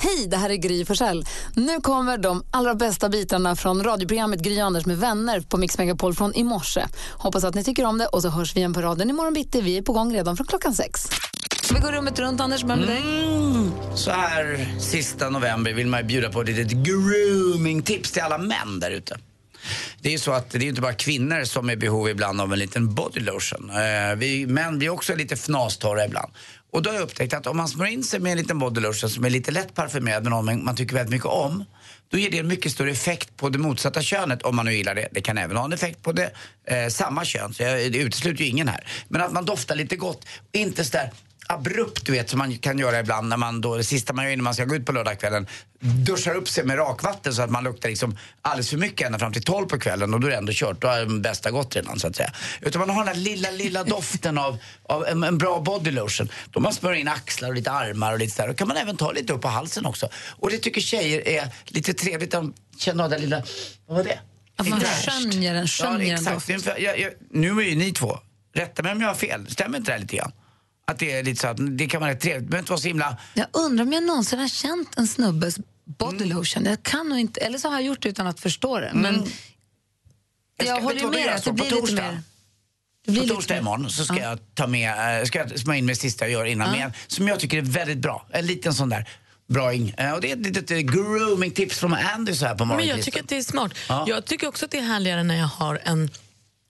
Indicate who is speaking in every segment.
Speaker 1: Hej, det här är Gry Forssell. Nu kommer de allra bästa bitarna från radioprogrammet Gry Anders med vänner på Mix Megapol från i morse. Hoppas att ni tycker om det och så hörs vi igen på raden imorgon bitti. Vi är på gång redan från klockan sex. Vi går rummet runt, Anders. Börja med dig.
Speaker 2: Så här sista november vill man ju bjuda på ett litet grooming-tips till alla män där ute. Det är ju så att det är ju inte bara kvinnor som är i behov ibland av en liten body lotion. Eh, vi män blir också lite fnastorra ibland. Och då har jag upptäckt att om man smörjer in sig med en liten body lotion som är lite lätt parfymerad men någon man tycker väldigt mycket om. Då ger det en mycket större effekt på det motsatta könet om man nu gillar det. Det kan även ha en effekt på det eh, samma kön, så jag det utesluter ju ingen här. Men att man doftar lite gott, inte sådär abrupt du vet som man kan göra ibland när man då, det sista man gör innan man ska gå ut på lördagskvällen duschar upp sig med rakvatten så att man luktar liksom alldeles för mycket ända fram till 12 på kvällen och då är det ändå kört, då har den bästa gått redan så att säga. Utan man har den här lilla, lilla doften av, av en, en bra body lotion. Då man smörjer in axlar och lite armar och lite sådär. Då kan man även ta lite upp på halsen också. Och det tycker tjejer är lite trevligt, de känner av den lilla, vad var det?
Speaker 1: Att man
Speaker 2: Lite värst.
Speaker 1: skönjer en, skönjer
Speaker 2: Ja,
Speaker 1: en
Speaker 2: exakt.
Speaker 1: doft.
Speaker 2: Det är för- Jag, jag, nu är ju ni två, rätta mig om jag har fel, stämmer inte det här lite grann? Att det är lite så att det kan vara rätt trevligt, det behöver inte vara så himla...
Speaker 1: Jag undrar om jag någonsin har känt en snubbes body
Speaker 2: Mm.
Speaker 1: lotion. Jag kan nog inte, eller så har jag gjort det utan att förstå det. Men jag,
Speaker 2: ska- vet
Speaker 1: håller
Speaker 2: du
Speaker 1: ju
Speaker 2: vad du
Speaker 1: med
Speaker 2: gör
Speaker 1: dig att det
Speaker 2: så?
Speaker 1: blir
Speaker 2: På
Speaker 1: lite
Speaker 2: torsdag?
Speaker 1: mer... Det blir
Speaker 2: På
Speaker 1: lite
Speaker 2: torsdag
Speaker 1: mer-
Speaker 2: imorgon så ska
Speaker 1: Ja.
Speaker 2: jag ta med, eh, ska jag smörja in med det sista jag gör innan med en som jag tycker är väldigt bra. En liten sån där braing. Eh, Och det är ett litet eh, grooming-tips från Andy så här på
Speaker 3: Men
Speaker 2: morgonen.
Speaker 3: jag tycker att det är smart.
Speaker 2: Ja.
Speaker 3: Jag tycker också att det är härligare när jag har en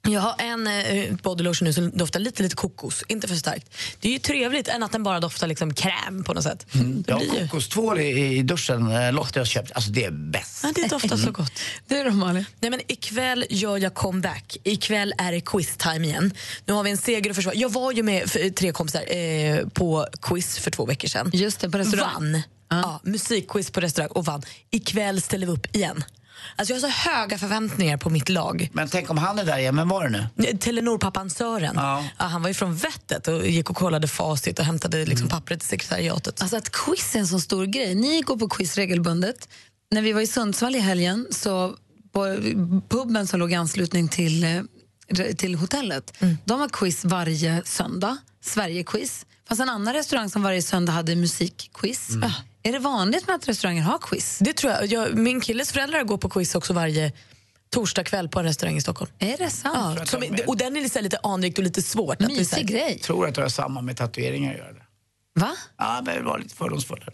Speaker 3: jag har en eh, body lotion nu som doftar lite, lite kokos, inte för starkt. Det är ju trevligt än att den bara doftar liksom kräm på något sätt.
Speaker 2: Mm. jag
Speaker 3: Det, blir
Speaker 2: har
Speaker 3: ju,
Speaker 2: kokostvål i, i duschen, eh, Lotta jag har köpt. Alltså det är bäst.
Speaker 3: ja, det doftar
Speaker 1: Mm.
Speaker 3: så gott.
Speaker 1: Du då, Malin?
Speaker 3: Nej, men ikväll gör jag comeback. Ikväll är det quiz-time igen. Nu har vi en seger att försvara. Jag var ju med f- tre kompisar eh, på quiz för två veckor sedan.
Speaker 1: Just det, på restaurang.
Speaker 3: Vann. Ja, musikquiz på restaurang och vann. Ikväll ställer vi upp igen. Alltså jag har så höga förväntningar på mitt lag.
Speaker 2: Men tänk om han är där igen, men var det nu?
Speaker 3: Telenor-pappan Sören,
Speaker 2: Ja.
Speaker 3: ja. han var ju från vettet och gick och kollade facit och hämtade
Speaker 2: Mm.
Speaker 3: liksom pappret till sekretariatet.
Speaker 1: Alltså att quiz är en så stor grej. Ni går på quiz regelbundet. När vi var i Sundsvall i helgen, så på puben som låg i anslutning till, eh, re- till hotellet, de har quiz varje söndag. Sverige-quiz. Det fanns en annan restaurang som varje söndag hade musikquiz. Ah, Är det vanligt med att restauranger har quiz?
Speaker 3: Det tror jag. jag. Min killes föräldrar går på quiz också varje torsdagkväll på en restaurang i Stockholm.
Speaker 1: Är det sant?
Speaker 3: Ja, som, och den är lite, så här lite anrikt och lite svårt. att det är så här-
Speaker 1: Mysig grej.
Speaker 2: Jag tror att det har samma med tatueringar att göra. det.
Speaker 1: Va?
Speaker 2: Ja, men det var lite fördomsfulla. nu.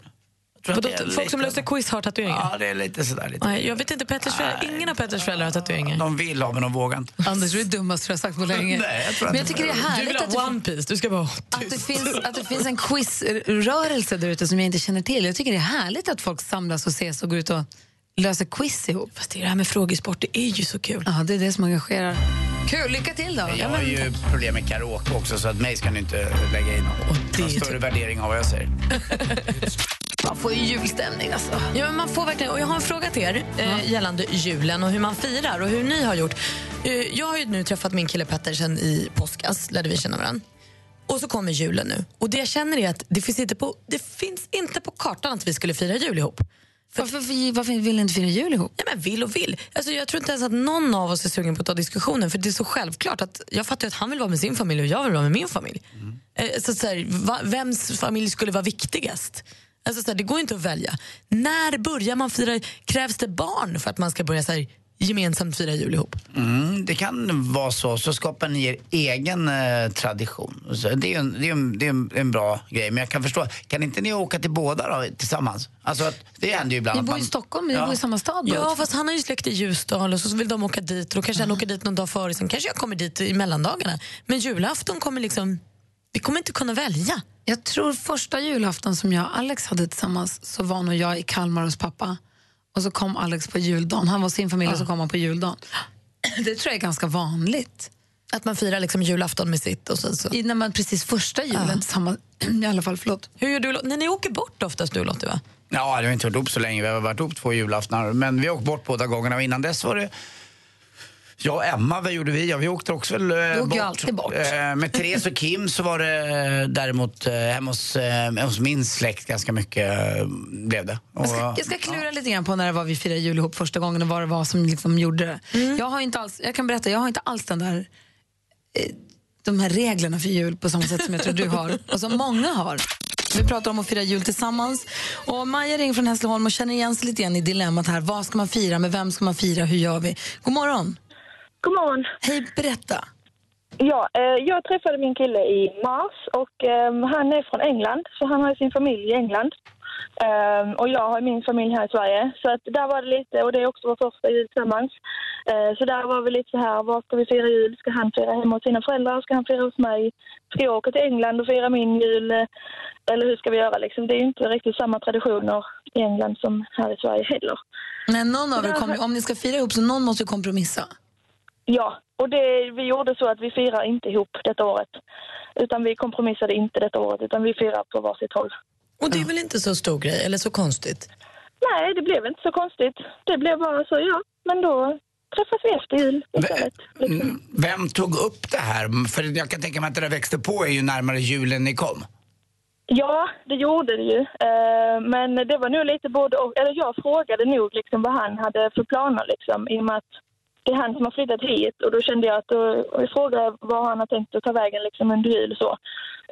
Speaker 2: Jag tror att
Speaker 3: Vadå,
Speaker 2: det är
Speaker 3: folk som
Speaker 2: lite-
Speaker 3: löser quiz har tatueringar?
Speaker 2: Ja, det är lite sådär. Lite.
Speaker 3: Nej, jag vet inte. Petters föräldrar, ingen av Petters föräldrar har tatueringar.
Speaker 2: De vill ha, men de vågar inte.
Speaker 1: Anders, du är dummast jag har sagt på länge.
Speaker 2: Nej, jag tror
Speaker 1: Men jag
Speaker 2: inte
Speaker 1: tycker det är
Speaker 3: Du
Speaker 2: det.
Speaker 3: vill
Speaker 1: härligt att det
Speaker 3: ha One Piece, du ska vara
Speaker 1: att det, finns, att det finns en quizrörelse där ute som jag inte känner till. Jag tycker det är härligt att folk samlas och ses och går ut och löser quiz ihop.
Speaker 3: Fast det är det här med frågesport, det är ju så kul.
Speaker 1: Ja, det är det som engagerar. Kul, lycka till då!
Speaker 2: Jag har ju problem med karaoke också så att mig ska ni inte lägga in någon,
Speaker 3: det
Speaker 2: någon
Speaker 3: är ju
Speaker 1: typ-
Speaker 2: större värdering av vad jag säger.
Speaker 1: Man får ju julstämning alltså.
Speaker 3: Ja, men man får verkligen, och jag har en fråga till er eh, gällande julen och hur man firar och hur ni har gjort. Eh, jag har ju nu träffat min kille Pettersen i påskas, lärde vi känna varandra. Och så kommer julen nu. Och det jag känner är att det finns inte på, det finns inte på kartan att vi skulle fira jul ihop.
Speaker 1: Varför, varför vill ni inte fira jul ihop?
Speaker 3: Ja, men vill och vill. Alltså, jag tror inte ens att någon av oss är sugen på att ta diskussionen. För det är så självklart att Jag fattar ju att han vill vara med sin familj och jag vill vara med min familj. Eh, Så, att så här, va, vems familj skulle vara viktigast? Alltså, så här, det går ju inte att välja. När börjar man fira? Krävs det barn för att man ska börja så här, gemensamt fira jul ihop?
Speaker 2: Mm, det kan vara så, så skapar ni er egen eh, tradition. Så det är ju en, det är en, det är en, en bra grej, men jag kan förstå. Kan inte ni åka till båda då, tillsammans? Alltså, att, det händer ju ibland.
Speaker 1: Ni
Speaker 2: att
Speaker 1: bor
Speaker 2: man-
Speaker 1: ju i Stockholm, ni
Speaker 2: Ja.
Speaker 1: bor i samma stad. båda
Speaker 3: Ja,
Speaker 1: två.
Speaker 3: fast han har ju släkt i Ljusdal och så vill de åka dit. Och då kanske han åker dit någon dag före, sen kanske jag kommer dit i mellandagarna. Men julafton kommer liksom... Vi kommer inte kunna välja.
Speaker 1: Jag tror första julafton som jag och Alex hade tillsammans så var nog jag i Kalmar hos pappa. Och så kom Alex på juldagen. Han var hos sin
Speaker 3: Ah.
Speaker 1: familj och så kom han på juldagen. Det tror jag är ganska vanligt.
Speaker 3: Att man firar liksom julafton med sitt och sen så... Ah.
Speaker 1: I, när man precis första julen tillsammans, i alla fall, förlåt.
Speaker 3: Hur gör du Lotta? Nej, ni åker bort oftast du Lottie va?
Speaker 2: Ja, det har vi inte varit ihop så länge. Vi har varit ihop två julaftnar. Men vi har åkt bort båda gångerna och innan dess var det Jag och Emma, vad gjorde vi? Ja, vi åkte också väl eh,
Speaker 1: åker
Speaker 2: bort.
Speaker 1: ju alltid bort.
Speaker 2: Eh, med Therese och Kim så var det eh, däremot eh, hemma hos, eh, hemma hos min släkt ganska mycket eh, blev det. Och,
Speaker 1: Jag ska, jag ska klura lite grann på när det var vi firade jul ihop första gången och vad det var som liksom gjorde det. Jag, har inte alls, jag kan berätta, jag har inte alls den där, eh, de här reglerna för jul på samma sätt som jag tror du har och som många har. Vi pratar om att fira jul tillsammans. Och Maja ringer från Hässleholm och känner igen sig lite grann i dilemmat här. Vad ska man fira? Med vem ska man fira? Hur gör vi? God morgon!
Speaker 4: God morgon.
Speaker 1: Hej, berätta!
Speaker 4: Ja, eh, jag träffade min kille i mars och ehm, han är från England så han har sin familj i England. Ehm, och jag har min familj här i Sverige. Så att där var det lite, och det är också vår första jul tillsammans. Eh, så där var vi lite så här, var ska vi fira jul? Ska han fira hemma hos sina föräldrar? Ska han fira hos mig? Ska jag åka till England och fira min jul? Eh, Eller hur ska vi göra liksom? Det är ju inte riktigt samma traditioner i England som här i Sverige heller.
Speaker 1: Men någon av er kommer, om ni ska fira ihop så någon måste ju kompromissa.
Speaker 4: Ja, och det, vi gjorde så att vi firar inte ihop detta året. Utan vi kompromissade inte detta året, utan vi firar på varsitt håll.
Speaker 3: Och det är väl inte så stor grej eller så konstigt?
Speaker 4: Nej, det blev inte så konstigt. Det blev bara så, ja. Men då träffas vi efter jul istället. Liksom.
Speaker 2: Mm, Vem tog upp det här? För jag kan tänka mig att det där växte på är ju närmare julen ni kom.
Speaker 4: Ja, det gjorde det ju. Eh, Men det var nog lite både och. Eller jag frågade nog liksom vad han hade för planer liksom, i och med att det är han som har flyttat hit och då kände jag att då, och jag frågade vad han har tänkt att ta vägen liksom under jul och så.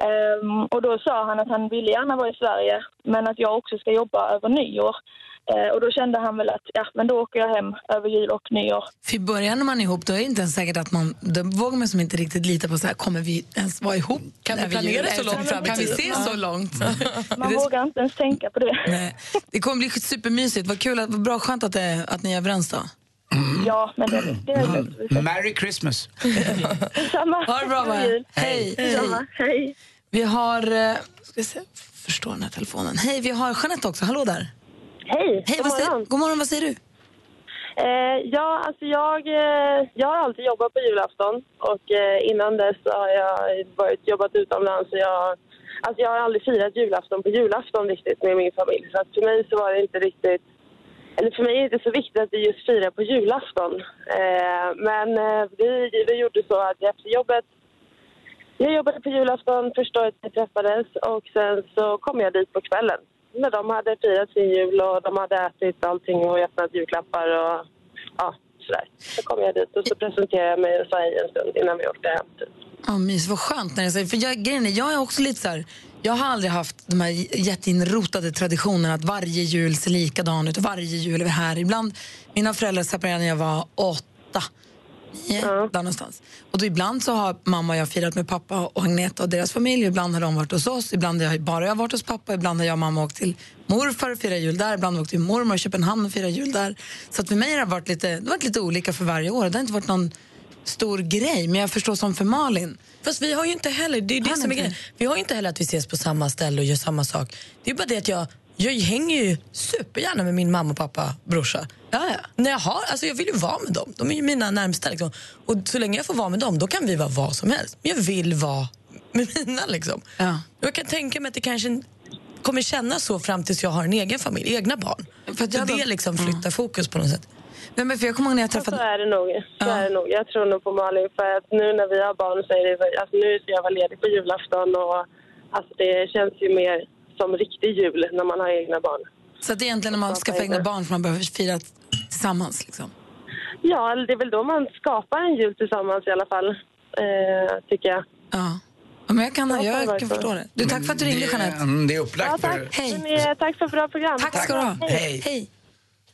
Speaker 4: Ehm, och då sa han att han ville gärna vara i Sverige men att jag också ska jobba över nyår. Eh, och då kände han väl att ja, men då åker jag hem över jul och nyår.
Speaker 1: För i början när man är ihop då är det inte ens säkert att man, då vågar man som inte riktigt lita på så här, kommer vi ens vara ihop?
Speaker 3: Kan
Speaker 1: När
Speaker 3: vi
Speaker 1: planerar
Speaker 3: göra
Speaker 1: vi
Speaker 3: så långt
Speaker 1: ens?
Speaker 3: fram i
Speaker 1: Kan vi
Speaker 3: tiden?
Speaker 1: se
Speaker 3: Ja.
Speaker 1: så långt?
Speaker 4: Man
Speaker 1: Det är-
Speaker 4: vågar inte ens tänka på det.
Speaker 1: Nej. Det kommer bli supermysigt, vad kul, att, vad bra, skönt att, det, att ni är överens då.
Speaker 4: Ja, men det, det är lugnt. Vi ses
Speaker 2: Mm. Merry Christmas!
Speaker 4: detsamma.
Speaker 1: Ha det bra
Speaker 4: God
Speaker 1: Maja.
Speaker 4: jul.
Speaker 1: Hej.
Speaker 4: Detsamma. Hej.
Speaker 1: Vi har, eh, ska vi se, förstår den här telefonen. Hej, vi har Jeanette också, hallå där.
Speaker 4: Hej,
Speaker 1: Hej,
Speaker 4: god
Speaker 1: vad säger,
Speaker 4: morgon.
Speaker 1: god morgon, vad säger du?
Speaker 4: Eh, ja, alltså jag, eh, jag har alltid jobbat på julafton och eh, innan dess så har jag varit, jobbat utomlands. Och jag, alltså jag har aldrig firat julafton på julafton riktigt med min familj. Så att för mig så var det inte riktigt, eller för mig är det inte så viktigt att vi just firar på julafton. Eh, men eh, vi, vi gjorde så att efter jobbet jag jobbade på julafton första året vi träffades och sen så kom jag dit på kvällen. När de hade firat sin jul och de hade ätit allting och öppnat julklappar och ja, sådär. Så kom jag dit och så presenterade jag mig och sa hej en stund innan vi åkte hem. Typ.
Speaker 1: Ja, mys, vad skönt när det säger. För jag, grejen är, jag är också lite så här, jag har aldrig haft de här jätteinrotade traditionerna att varje jul ser likadan ut och varje jul är vi här. Ibland, mina föräldrar separerade när jag var åtta, nio, där någonstans. Och då ibland så har mamma och jag firat med pappa och Agneta och deras familj. Ibland har de varit hos oss, ibland har jag, bara jag varit hos pappa, ibland har jag och mamma åkt till morfar och firat jul där, ibland har vi åkt till mormor i Köpenhamn och firat jul där. Så att för mig har det varit lite, det har varit lite olika för varje år. Det har inte varit någon stor grej, men jag förstår som för Malin.
Speaker 3: Fast vi har ju inte heller, det är ju det
Speaker 1: Han är
Speaker 3: som är
Speaker 1: fin.
Speaker 3: grejen. Vi har ju inte heller att vi ses på samma ställe och gör samma sak. Det är bara det att jag, jag hänger ju supergärna med min mamma och pappa, brorsa.
Speaker 1: Ja, ja.
Speaker 3: När jag, har, alltså jag vill ju vara med dem. De är ju mina närmsta. Liksom. Och så länge jag får vara med dem, då kan vi vara vad som helst. Men jag vill vara med mina. Liksom.
Speaker 1: Ja.
Speaker 3: Och Jag kan tänka mig att det kanske kommer kännas så fram tills jag har en egen familj, egna barn.
Speaker 1: För
Speaker 3: För
Speaker 1: att jag då-
Speaker 3: det liksom flyttar fokus på något sätt.
Speaker 1: Nej, men för jag kommer ihåg när jag
Speaker 4: Så
Speaker 1: träffade...
Speaker 4: är det nog.
Speaker 1: Ja.
Speaker 4: Så är det nog. Jag tror nog på Malin för att nu när vi har barn så är det så- alltså nu ska jag vara ledig på julafton och alltså det känns ju mer som riktig jul när man har egna barn.
Speaker 1: Så att det är egentligen när man ska få egna barn som man behöver fira tillsammans. Liksom.
Speaker 4: Ja, det är väl då man skapar en jul tillsammans i alla fall, eh, tycker jag.
Speaker 1: Ja. Ja, Men jag kan, jag kan förstå det. Du, tack för att du ringde,
Speaker 2: det,
Speaker 1: Jeanette.
Speaker 2: mm, det är upplagt
Speaker 4: Ja, tack.
Speaker 2: för...
Speaker 1: Hej.
Speaker 4: Hörni, eh, tack för bra program.
Speaker 1: Tack ska du ha.
Speaker 2: Hej.
Speaker 1: Hej.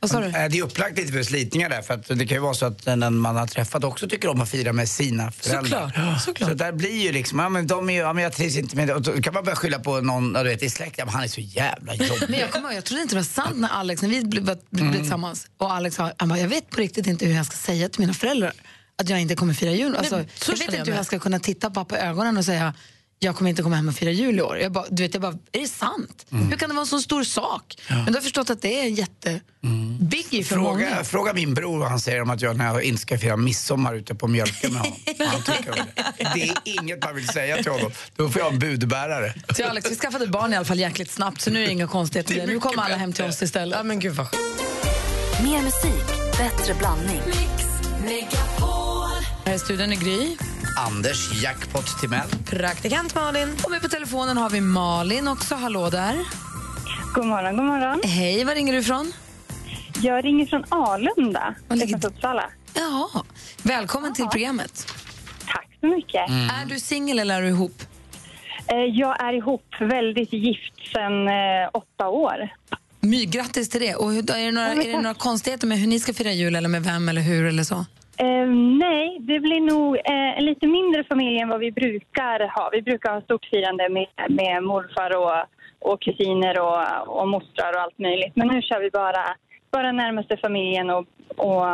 Speaker 1: Vad sa du?
Speaker 2: Eh, Det är upplagt lite för slitningar där, för att det kan ju vara så att den man har träffat också tycker om att fira med sina föräldrar.
Speaker 3: Såklart, såklart.
Speaker 2: Så där blir ju liksom, ja men de är ju, ja men jag trivs inte med det. Och då kan man börja skylla på någon, ja, du vet i släkten, ja, men han är så jävla
Speaker 1: Men
Speaker 2: jobbig.
Speaker 1: jag kommer ihåg, jag trodde inte det var sant när Alex, när vi blev, blev tillsammans och Alex sa, han bara, jag vet på riktigt inte hur jag ska säga till mina föräldrar att jag inte kommer fira jul. Alltså,
Speaker 3: men så
Speaker 1: jag vet
Speaker 3: känner
Speaker 1: inte
Speaker 3: jag
Speaker 1: hur
Speaker 3: med.
Speaker 1: jag ska kunna titta pappa i ögonen och säga, jag kommer inte komma hem och fira jul i år. Jag bara, du vet, jag bara, är det sant? Hur kan det vara en så stor sak? Men då har jag förstått att det är jätte Mm. biggie för många.
Speaker 2: Fråga, fråga min bror vad han säger om att jag när jag inte ska fira midsommar ute på mjölken med honom. Vad Han tycker om det. det är inget man vill säga till honom. Då får jag en budbärare.
Speaker 1: Så Alex, vi skaffade barn i alla fall jäkligt snabbt så nu är det inga konstigheter. med det. Nu kommer alla hem till oss istället.
Speaker 3: Ja, men gud vad skönt.
Speaker 5: Mer musik, bättre blandning.
Speaker 6: Mix Megapol.
Speaker 1: Här i studion är Gry.
Speaker 2: Anders Jackpot Timell.
Speaker 3: Praktikant Malin.
Speaker 1: Och med på telefonen har vi Malin också. Hallå där.
Speaker 6: God morgon, god morgon.
Speaker 1: Hej, var ringer du ifrån?
Speaker 6: Jag ringer från Alunda
Speaker 1: Vad ligger-
Speaker 6: utanför Uppsala.
Speaker 1: Jaha. Välkommen till programmet.
Speaker 6: Tack så mycket.
Speaker 1: Är du singel eller är du ihop?
Speaker 6: Eh, Jag är ihop, väldigt gift sedan eh, åtta år.
Speaker 1: My, grattis till det. Och hur, är, det några,
Speaker 6: men
Speaker 1: är det
Speaker 6: tack.
Speaker 1: några konstigheter med hur ni ska fira jul eller med vem eller hur eller så?
Speaker 6: Eh, Nej, det blir nog eh, en lite mindre familj än vad vi brukar ha. Vi brukar ha stort firande med, med morfar och, och kusiner och, och mostrar och allt möjligt. Men nu kör vi bara, bara närmaste familjen och, och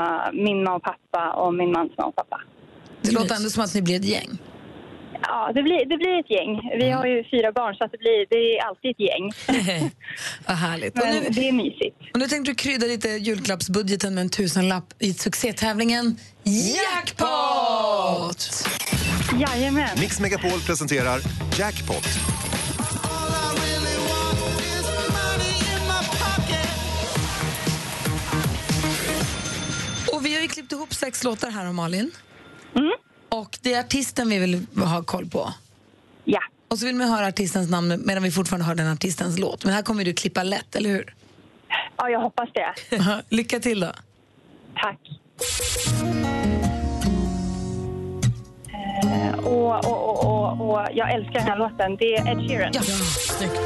Speaker 6: min mamma och pappa och min mans mamma och pappa.
Speaker 1: Det låter ändå som att ni blir ett gäng.
Speaker 6: Ja, det blir, det blir ett gäng. Vi har ju fyra barn så att det, blir, det är alltid ett gäng.
Speaker 1: Vad härligt. Och
Speaker 6: Men
Speaker 1: nu,
Speaker 6: det är mysigt.
Speaker 1: och nu tänkte du krydda lite julklappsbudgeten med en tusenlapp i succétävlingen Jackpot!
Speaker 6: Jajamän.
Speaker 7: Mix Megapol presenterar Jackpot.
Speaker 1: Och vi har ju klippt ihop sex låtar här, om Malin.
Speaker 6: Mm.
Speaker 1: Och det är artisten vi vill ha koll på.
Speaker 6: Ja.
Speaker 1: Och så vill man höra artistens namn medan vi fortfarande hör den artistens låt. Men här kommer du klippa lätt, eller hur?
Speaker 6: ja, jag hoppas det.
Speaker 1: Lycka till då.
Speaker 6: Tack. Eh, Och, och, och, och, och jag älskar den här låten. Det är Ed Sheeran.
Speaker 1: Ja, snyggt.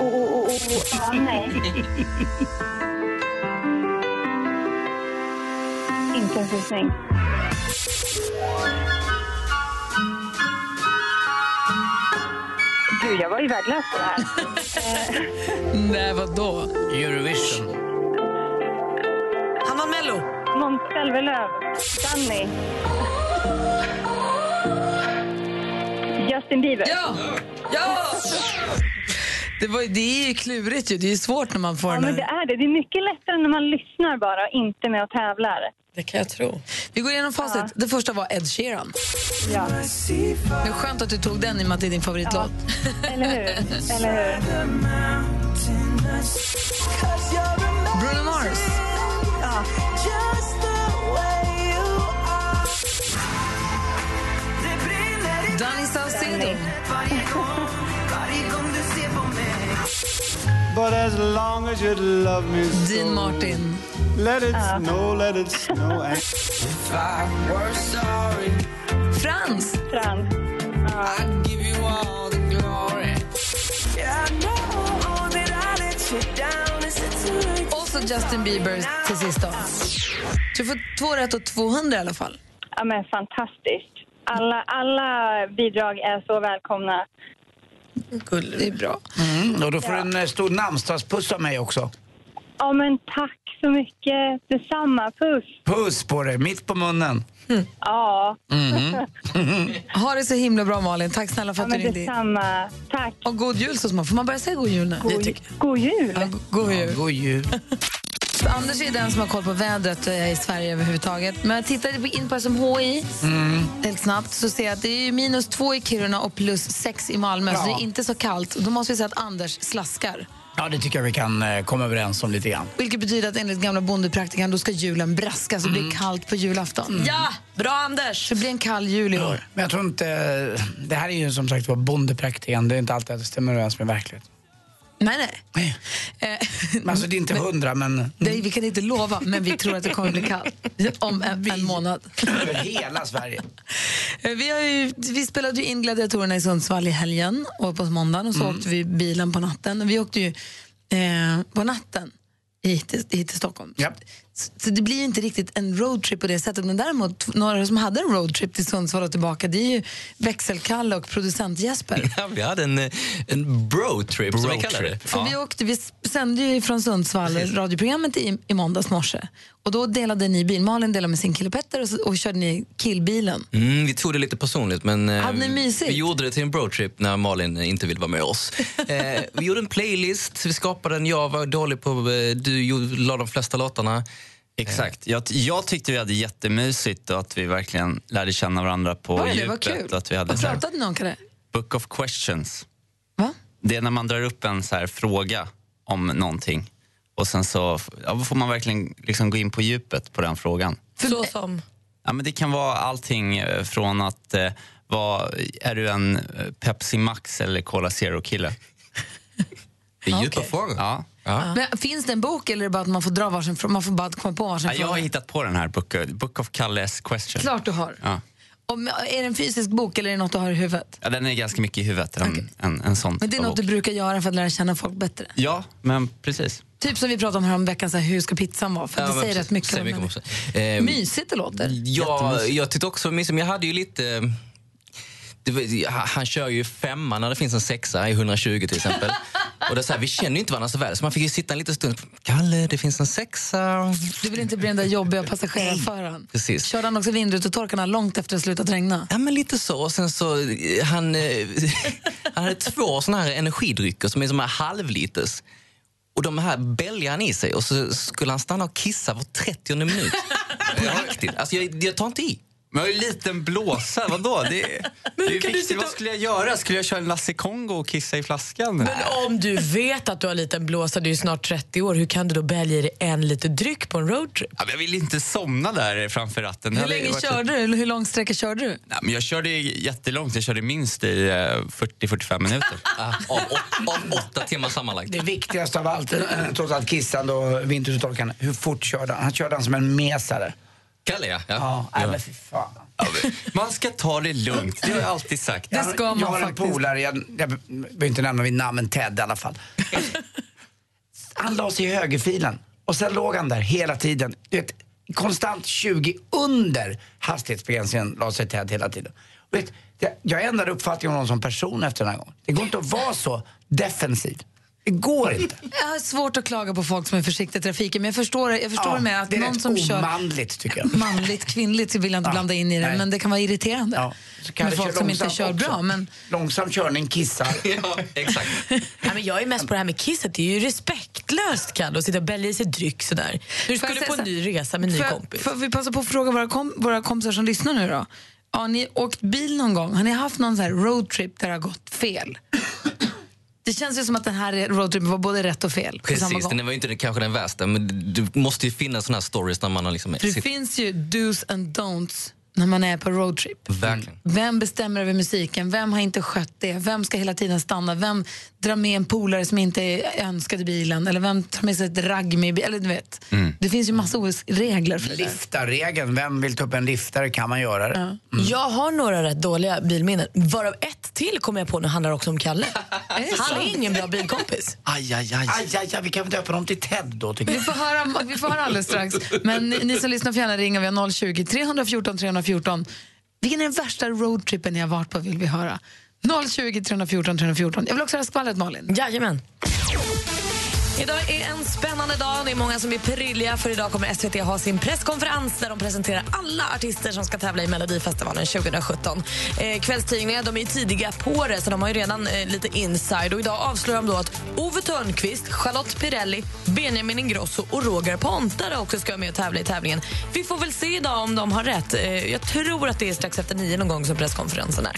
Speaker 6: Oh, oh, oh, oh, oh. Ja, nej. Inte en susning. Gud, jag var ju värdelös på det här.
Speaker 1: Nej, vadå?
Speaker 2: Eurovision.
Speaker 3: Han vann Mello.
Speaker 6: Måns Zelmerlöw. Danny. Justin Bieber.
Speaker 1: Ja! Ja! Det, var, ju- det är ju klurigt ju. Det är ju svårt när man får
Speaker 6: Ja,
Speaker 1: den
Speaker 6: men det
Speaker 1: här.
Speaker 6: är det. Det är mycket lättare när man lyssnar bara och inte med och tävlar.
Speaker 3: Det kan jag tro.
Speaker 1: Vi går igenom facit. Det första var Ed Sheeran.
Speaker 6: Ja.
Speaker 1: Det är skönt att du tog den i och med att det är din favoritlåt.
Speaker 6: Eller hur? Eller hur?
Speaker 1: Bruno Mars. Danny Saucedo.
Speaker 8: But as long as you love me so,
Speaker 1: Dean Martin.
Speaker 8: let it snow, let it snow. And
Speaker 1: Frans.
Speaker 6: Frans.
Speaker 1: Och så Justin Bieber till sist. Då. Så Du får två rätt och 200 i alla fall.
Speaker 6: Ja, men fantastiskt. Alla, alla bidrag är så välkomna.
Speaker 1: Det är bra.
Speaker 2: Mm, och då får du en eh, stor namnsdagspuss av mig också.
Speaker 6: Ja, men tack så mycket. Detsamma. Puss.
Speaker 2: Puss på dig, mitt på munnen.
Speaker 6: Ja,
Speaker 1: Mm. Ha det så himla bra, Malin. Tack snälla för
Speaker 6: ja
Speaker 1: att du
Speaker 6: men
Speaker 1: ringde. in.
Speaker 6: detsamma. Tack.
Speaker 1: Och god jul så småningom. Får man börja säga god jul nu?
Speaker 6: God, god jul.
Speaker 1: Ja, go- god jul.
Speaker 2: God jul.
Speaker 1: Anders är den som har koll på vädret eh, i Sverige överhuvudtaget. Men jag tittade på- in på SMHI
Speaker 2: Mm.
Speaker 1: helt snabbt så ser jag att det är ju minus två i Kiruna och plus sex i Malmö. Så det är inte så kallt. Då måste vi säga att Anders slaskar.
Speaker 2: Ja, det tycker jag vi kan eh, komma överens om lite grann.
Speaker 1: Vilket betyder att enligt gamla bondepraktikan då ska julen braska så det
Speaker 2: Mm.
Speaker 1: blir kallt på julafton.
Speaker 3: Ja, bra Anders.
Speaker 1: Så det blir en kall jul i år.
Speaker 2: Men jag tror inte... Det här är ju som sagt var bondepraktiken. Det är inte alltid att det stämmer överens med verkligheten.
Speaker 1: Nej, nej. Eh,
Speaker 2: Men alltså det är inte hundra, men...
Speaker 1: nej, vi kan inte lova, men vi tror att det kommer bli kallt om en, en månad.
Speaker 2: Över hela Sverige.
Speaker 1: Eh, Vi, har ju, vi spelade ju in gladiatorerna i Sundsvall i helgen och på måndagen och så åkte vi bilen på natten. Vi åkte ju eh, på natten hit till, hit till Stockholm.
Speaker 2: Ja.
Speaker 1: Så, så det blir ju inte riktigt en roadtrip på det sättet. Men däremot, t- några som hade en roadtrip till Sundsvall och tillbaka det är ju växelkalle och producent Jesper.
Speaker 8: vi hade en, eh, en bro trip, som vi kallar det.
Speaker 1: För vi, åkte, vi s- sände ju från Sundsvall radioprogrammet i, i måndags morse. Och då delade ni bil. Malin delade med sin kille Petter och, så, och körde ni killbilen.
Speaker 8: Mm, vi tog det lite personligt, men eh,
Speaker 1: Hade ni mysigt?
Speaker 8: vi gjorde det till en roadtrip när Malin eh, inte ville vara med oss. Eh, vi gjorde en playlist, vi skapade den, jag var dålig på, eh, du gjorde- la de flesta låtarna. Eh.
Speaker 7: Exakt. Jag, jag tyckte vi hade jättemysigt och att vi verkligen lärde känna varandra på
Speaker 1: Var det det?
Speaker 7: djupet.
Speaker 1: Vad kul.
Speaker 7: och Att vi hade
Speaker 1: Vad
Speaker 7: så här,
Speaker 1: pratade ni om Kalle?
Speaker 7: book of questions.
Speaker 1: Va?
Speaker 7: Det är när man drar upp en så här fråga om någonting Och sen så ja, får man verkligen liksom gå in på djupet på den frågan.
Speaker 3: Så som?
Speaker 7: Ja, men det kan vara allting eh, från att eh, vara, är du en eh, Pepsi Max eller Cola Zero-kille?
Speaker 1: Det är djupa Okej.
Speaker 7: frågor. Ja.
Speaker 1: Men, finns det en bok eller är det bara att man får, dra varsin, frå- man får bara komma på varsin
Speaker 7: Ja, jag
Speaker 1: fråga?
Speaker 7: har hittat på den här, Book, Book of Kalles Question.
Speaker 1: Klart du har.
Speaker 7: Ja.
Speaker 1: Om, är det en fysisk bok eller är det något du har i huvudet?
Speaker 7: Ja, den är ganska mycket i huvudet, en, en, en sån.
Speaker 1: Men det är
Speaker 7: typ av
Speaker 1: något du
Speaker 7: bok.
Speaker 1: brukar göra för att lära känna folk bättre.
Speaker 7: Ja, men precis.
Speaker 1: Typ som vi pratade om häromveckan, så här, hur ska pizzan vara? För
Speaker 8: Ja,
Speaker 1: det
Speaker 8: men
Speaker 1: säger
Speaker 8: precis.
Speaker 1: rätt mycket.
Speaker 8: Säger
Speaker 1: om
Speaker 8: mycket om
Speaker 1: människor.
Speaker 8: oss. Ehm,
Speaker 1: Mysigt det låter.
Speaker 8: Ja, jag tyckte också men Jag hade ju lite... Det var, han han kör ju femma när det finns en sexa i 120 till exempel. Och det är så här, vi känner ju inte varandra så väl, så man fick ju sitta en liten stund. Kalle, det finns en sexa.
Speaker 1: Du vill inte bli den där jobbiga passagerarföraren.
Speaker 8: Precis.
Speaker 1: Körde han också vindrutetorkarna långt efter det slutat regna?
Speaker 8: Ja, men lite så. Och sen så, eh, han, eh, han hade två såna här energidrycker som är som här halvliters. Och de här bälgade han i sig och så skulle han stanna och kissa var 30 minut. På riktigt. Alltså, jag, jag tar inte i.
Speaker 7: Men jag är en liten blåsa, vadå? Det, det är
Speaker 3: kan du
Speaker 7: viktigt.
Speaker 3: sitta-
Speaker 7: Vad skulle jag göra? Skulle jag köra en Lasse Kongo och kissa i flaskan? Nej.
Speaker 3: Men om du vet att du har en liten blåsa, du är ju snart 30 år, hur kan du då bälga i dig en liter dryck på en roadtrip?
Speaker 7: Ja, men Jag vill inte somna där framför ratten. Det
Speaker 1: Hur
Speaker 7: hade
Speaker 1: länge
Speaker 7: varit-
Speaker 1: körde du? Eller hur lång sträcka körde du?
Speaker 7: Nej, men jag körde ju jättelångt. Jag körde minst i eh, 40-45 minuter.
Speaker 8: av, åtta timmar sammanlagt.
Speaker 2: Det viktigaste av allt, eh, trots allt kissande och vintertorkan, hur fort körde han? Han körde han som en mesare.
Speaker 8: Kalle, ja.
Speaker 2: Ja, nej, men fy fan.
Speaker 7: Man ska ta det lugnt, det har jag alltid sagt.
Speaker 2: Jag har- jag har en polare, jag, jag behöver inte nämna mitt namn, men Ted i alla fall. Han la sig i högerfilen och sen låg han där hela tiden. Du vet, konstant 20 under hastighetsbegränsningen la sig Ted hela tiden. Du Vet, jag, jag ändrade uppfattning om honom som person efter den här gången. Det går inte att vara så defensiv. Det går inte.
Speaker 1: Jag har svårt att klaga på folk som är försiktiga i trafiken, men jag förstår, jag förstår
Speaker 2: Ja,
Speaker 1: med att
Speaker 2: det är
Speaker 1: någon
Speaker 2: rätt
Speaker 1: som kör
Speaker 2: omanligt tycker jag.
Speaker 1: manligt, kvinnligt så vill jag inte
Speaker 2: Ja,
Speaker 1: blanda in i det,
Speaker 2: nej.
Speaker 1: men det kan vara irriterande.
Speaker 2: Så kan
Speaker 1: med
Speaker 2: det
Speaker 1: folk
Speaker 2: köra
Speaker 1: som inte
Speaker 2: långsamt
Speaker 1: kör
Speaker 2: också.
Speaker 1: bra. Men
Speaker 2: Långsam körning kissar.
Speaker 8: ja, exakt.
Speaker 3: Nej, men jag är mest på det här med kisset, det är ju respektlöst Kalle att sitta och bälga i sig dryck sådär. Du
Speaker 1: Får jag
Speaker 3: skulle på
Speaker 1: säga
Speaker 3: en ny resa med en ny
Speaker 1: Får jag-
Speaker 3: kompis.
Speaker 1: Får vi passa på att fråga våra, kom, våra kompisar som lyssnar nu då? Har ni åkt bil någon gång? Har ni haft någon så här roadtrip där det har gått fel? Det känns ju som att den här roadtripen var både rätt och fel på samma
Speaker 8: Precis,
Speaker 1: gång.
Speaker 8: den var ju inte den- kanske den värsta men det det måste ju finnas såna här stories när man har liksom...
Speaker 1: För det
Speaker 8: sitt-
Speaker 1: finns ju do's and don'ts när man är på roadtrip.
Speaker 2: Mm.
Speaker 8: Verkligen.
Speaker 1: Vem bestämmer över musiken? Vem har inte skött det? Vem ska hela tiden stanna? Vem drar med en polare som inte är önskad i bilen? Eller vem tar med sig ett ragg med i bilen? Eller du vet. Det finns ju massa olika regler för det där.
Speaker 2: Liftarregeln, vem vill ta upp en liftare kan man göra det.
Speaker 3: Mm. Jag har några rätt dåliga bilminnen, varav ett till kommer jag på nu handlar också om Kalle. Han är ingen bra bilkompis.
Speaker 8: Aj, aj, aj.
Speaker 2: Aj, aj, aj, vi kan väl döpa dem till Ted då tycker
Speaker 1: Vi
Speaker 2: jag.
Speaker 1: får, höra, vi får höra alldeles strax. Men ni, ni som lyssnar får gärna ringa. Vi har 020 314 314. Vilken är den värsta roadtrippen ni har varit på vill vi höra. 020 314 314. Jag vill också höra skvallret Malin.
Speaker 3: Jajamän. Idag är en spännande dag. Det är många som är prilliga för idag kommer SVT ha sin presskonferens där de presenterar alla artister som ska tävla i Melodifestivalen 2017. Eh, kvällstidningarna de är ju tidiga på det så de har ju redan eh, lite inside och idag avslöjar de då att Ove Thörnqvist, Charlotte Pirelli, Benjamin Ingrosso och Roger Pontare också ska vara med och tävla i tävlingen. Vi får väl se idag om de har rätt. Eh, jag tror att det är strax efter nio någon gång som presskonferensen är.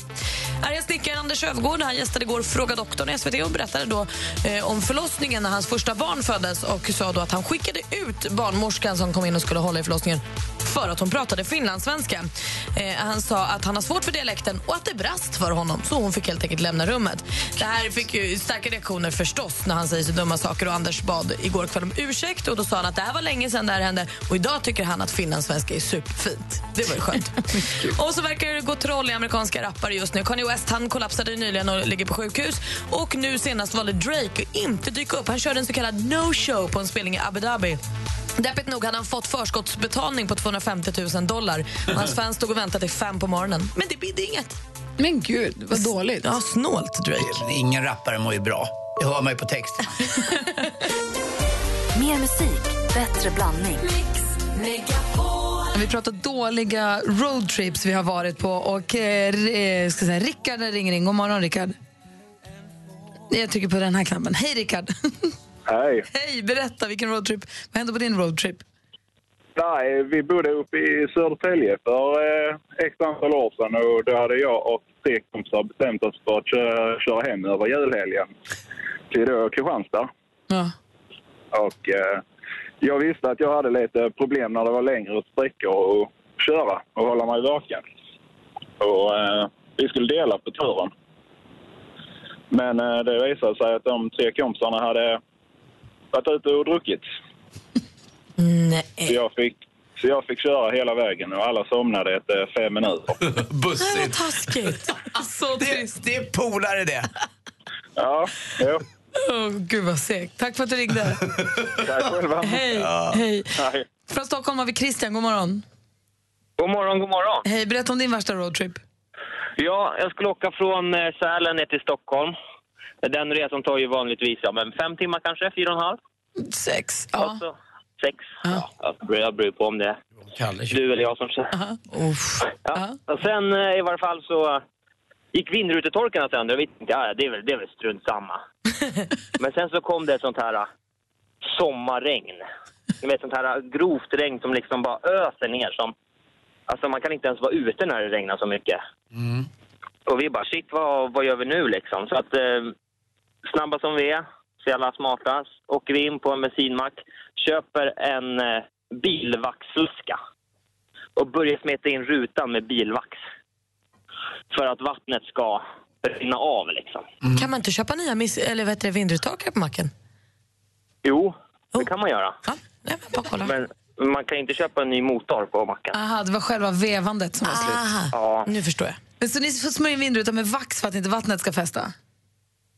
Speaker 3: Här är snickaren Anders Öfvergård. Han gästade igår Fråga doktorn i SVT och berättade då eh, om förlossningen när hans första barn föddes och sa då att han skickade ut barnmorskan som kom in och skulle hålla i förlossningen för att hon pratade finlandssvenska. Eh, han sa att han har svårt för dialekten och att det brast för honom så hon fick helt enkelt lämna rummet. Det här fick ju starka reaktioner förstås när han säger så dumma saker och Anders bad igår kväll om ursäkt och då sa han att det här var länge sedan det här hände och idag tycker han att finlandssvenska är superfint. Det var ju skönt. och så verkar det gå troll i amerikanska rappare just nu. Kanye West han kollapsade nyligen och ligger på sjukhus och nu senast valde Drake att inte dyka upp. Han körde en så kallad no-show på en spelning i Abu Dhabi. Deppigt nog hade han fått förskottsbetalning på 250 000 dollar. Och hans fans stod och väntade till fem på morgonen. Men det bidde inget.
Speaker 1: Men gud, vad dåligt.
Speaker 3: Ja, snålt Drake.
Speaker 2: Ingen rappare mår ju bra. Det hör man ju på texten.
Speaker 5: Mer musik, bättre blandning.
Speaker 1: Vi pratar dåliga roadtrips vi har varit på och eh, eh, ska säga, Rickard ringer in. God morgon Rickard. Jag trycker på den här knappen. Hej Rickard.
Speaker 9: Hej.
Speaker 1: Hej, berätta vilken roadtrip. Vad hände på din roadtrip?
Speaker 9: Nej, vi bodde uppe i Södertälje för eh, x antal år sedan och då hade jag och tre kompisar bestämt oss för att köra, köra hem över julhelgen till då Kristianstad.
Speaker 1: Ja.
Speaker 9: Och, eh, jag visste att jag hade lite problem när det var längre sträckor att köra och hålla mig vaken. Och, eh, vi skulle dela på turen. Men eh, det visade sig att de tre kompisarna hade varit ute och druckit.
Speaker 3: Nej.
Speaker 9: Så jag fick, så jag fick köra hela vägen och alla somnade efter fem minuter.
Speaker 2: Bussigt.
Speaker 3: Taskigt. Så trist.
Speaker 2: Det är polare det.
Speaker 9: Ja, ja.
Speaker 3: Oh, gud vad segt. Tack för att du ringde.
Speaker 10: Tack själva.
Speaker 3: Hej,
Speaker 10: Ja.
Speaker 3: hej.
Speaker 10: Hej.
Speaker 3: Från Stockholm har vi Christian, god morgon.
Speaker 10: God morgon, god morgon.
Speaker 3: Hej, berätta om din värsta roadtrip.
Speaker 10: Ja, jag skulle åka från eh, Sälen ner till Stockholm. Den resan tar ju vanligtvis ja, men fem timmar kanske, fyra och en halv.
Speaker 3: Sex, ja.
Speaker 10: Sex. Ja. jag beror- jag beror på om det är du eller jag som kör. Ja. Och sen eh, i varje fall så gick vindrutetorkarna sönder. Jag vet inte, ja, det, är väl, det är väl strunt samma. Men sen så kom det ett sånt här eh, sommarregn. Ni vet sånt här eh, grovt regn som liksom bara öser ner. Som, alltså man kan inte ens vara ute när det regnar så mycket. Och vi bara shit, vad, vad gör vi nu liksom? Så att eh, snabba som vi är, så jävla smarta, åker vi in på en bensinmack, köper en eh, bilvaxflaska och börjar smeta in rutan med bilvax. För att vattnet ska rinna av liksom.
Speaker 3: Kan man inte köpa nya miss- eller vad heter det, vindrutetorkare på macken?
Speaker 10: Jo, det kan man göra. Men man kan inte köpa en ny motor på macken.
Speaker 1: Aha, det var själva vevandet som var slut.
Speaker 10: Ja.
Speaker 3: Nu förstår jag.
Speaker 1: Ah. Men så ni får smörja in vindrutan med vax för att inte vattnet ska fästa?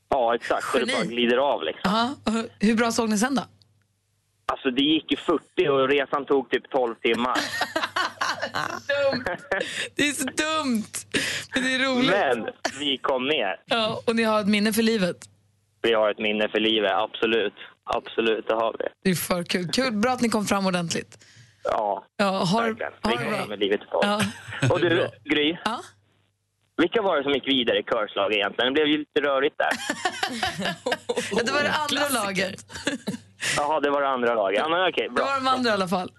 Speaker 10: Ja, exakt. Så det bara glider av liksom.
Speaker 1: Ja. och hur- Hur bra såg ni sen då?
Speaker 10: Alltså det gick ju 40 och resan tog typ 12 timmar.
Speaker 1: Det är så dumt! Men det är roligt.
Speaker 10: Men vi kom ner.
Speaker 1: Ja, och ni har ett minne för livet.
Speaker 10: Vi har ett minne för livet, absolut. Absolut, det har vi.
Speaker 1: Det är för kul. kul. Bra att ni kom fram ordentligt.
Speaker 10: Ja,
Speaker 1: Ja, har,
Speaker 10: vi
Speaker 1: har det bra.
Speaker 10: kommer med livet i
Speaker 1: Ja.
Speaker 10: Och du, Gry. Vilka var det som gick vidare i körslag egentligen? Det blev ju lite rörigt där.
Speaker 1: Ja, det var det andra laget.
Speaker 10: Jaha, det var det andra laget. Ja, men okej,
Speaker 1: Det
Speaker 10: bra.
Speaker 1: var de andra i alla fall.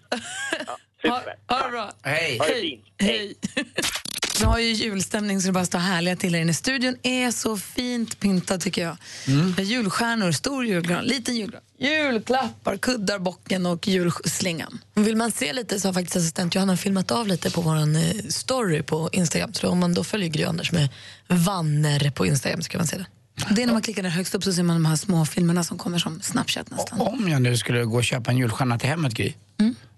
Speaker 10: Super.
Speaker 1: Ha det bra.
Speaker 2: Hej.
Speaker 10: Ha det fint.
Speaker 1: Hej. Vi har ju julstämning så det bara står härliga till här inne. Studion är så fint pyntad tycker jag. Med Julstjärnor, stor julgran, liten julgran, julklappar, kuddar, bocken och julslingan.
Speaker 3: Vill man se lite så har faktiskt assistent Johanna filmat av lite på vår story på Instagram. Så om man då följer Gry Anders med vanner på Instagram så kan man se det.
Speaker 1: Det är när man klickar där högst upp så ser man de här små filmerna som kommer som Snapchat nästan.
Speaker 2: Om jag nu skulle gå och köpa en julstjärna till hemmet, Gry,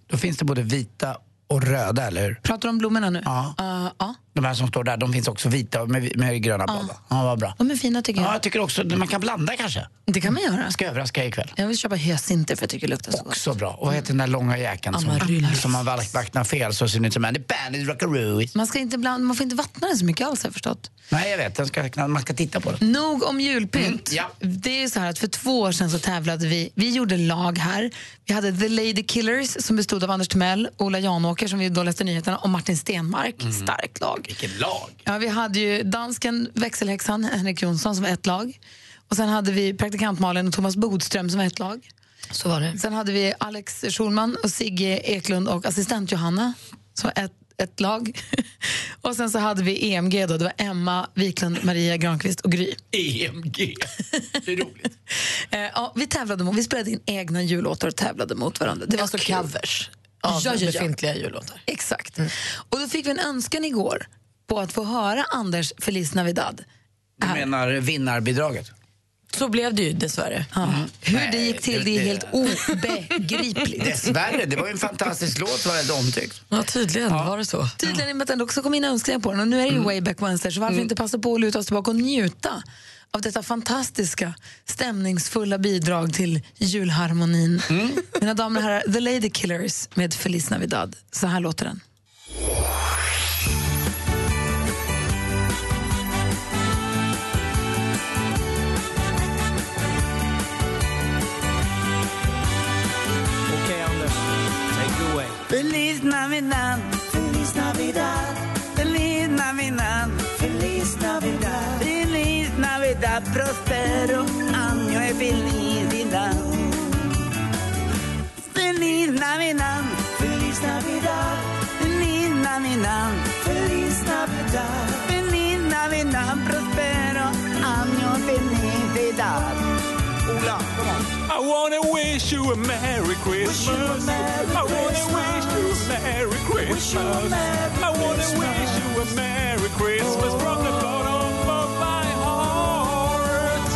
Speaker 2: då finns det både vita och röda, eller hur?
Speaker 1: Mm. Pratar du om blommorna nu?
Speaker 2: Ja.
Speaker 1: Uh, ja.
Speaker 2: De här som står där, de finns också vita med, med gröna blad, va? Ja, vad bra.
Speaker 1: De är fina tycker jag.
Speaker 2: Ja, jag tycker också man kan blanda kanske.
Speaker 1: Det kan man göra.
Speaker 2: Ska överraska er ikväll.
Speaker 1: Jag vill köpa hyacinter för jag tycker det luktar så gott.
Speaker 2: Också bra. Och vad heter den där långa jäkeln som,
Speaker 1: Amaryllis.
Speaker 2: som man vaktnar fel så ser den ut som en bandit rockaroo.
Speaker 1: Man, ska inte bland, man får inte vattna den så mycket alls har jag förstått.
Speaker 2: Nej, jag vet. Den ska, man ska titta på den.
Speaker 1: Nog om julpynt.
Speaker 3: Mm,
Speaker 1: Det är ju så här att för två år sedan så tävlade vi. Vi gjorde lag här. Vi hade The Lady Killers som bestod av Anders Timell, Ola Janåker som vi då läste nyheterna och Martin Stenmark. Starkt lag.
Speaker 2: Vilket lag!
Speaker 1: Ja, vi hade ju dansken växelhäxan Henrik Jonsson som var ett lag. Och sen hade vi praktikant Malin och Thomas Bodström som var ett lag.
Speaker 3: Så var det.
Speaker 1: Sen hade vi Alex Schulman och Sigge Eklund och assistent Johanna som var ett, ett lag. och sen så hade vi EMG då, det var Emma Wiklund, Maria Granqvist och Gry.
Speaker 2: E EMG.
Speaker 1: Eh, ja, vi tävlade mot, vi spelade in egna jullåtar och tävlade mot varandra. Det var så covers
Speaker 3: av befintliga jullåtar.
Speaker 1: Exakt. Och då fick vi en önskan igår på att få höra Anders Feliz Navidad.
Speaker 2: Du menar vinnarbidraget?
Speaker 3: Så blev det ju dessvärre.
Speaker 1: Hur det gick till det är helt obegripligt.
Speaker 2: Dessvärre, det var ju en fantastisk låt och väldigt omtyckt.
Speaker 3: Ja, tydligen var det så.
Speaker 1: Tydligen i och med att den också kom in önskningar på den och nu är det ju Wayback Wednesday så varför inte passa på att luta oss tillbaka och njuta av detta fantastiska stämningsfulla bidrag till julharmonin. Mina damer och herrar, The Lady Killers med Feliz Navidad. Så här låter den.
Speaker 11: Okej Anders, take it away.
Speaker 12: Feliz Navidad, Feliz Navidad, Feliz Navidad, Feliz Navidad, Feliz Navidad, Prospero año de felicidad. Feliz Navidad, Feliz Navidad, Feliz Navidad, Feliz Navidad, Feliz Navidad, Prospero año de felicidad. Oh
Speaker 11: Bubbla! Kom on.
Speaker 13: I wanna wish you a merry Christmas. I wanna wish you a merry Christmas. I wanna wish you a merry Christmas from the bottom of my heart.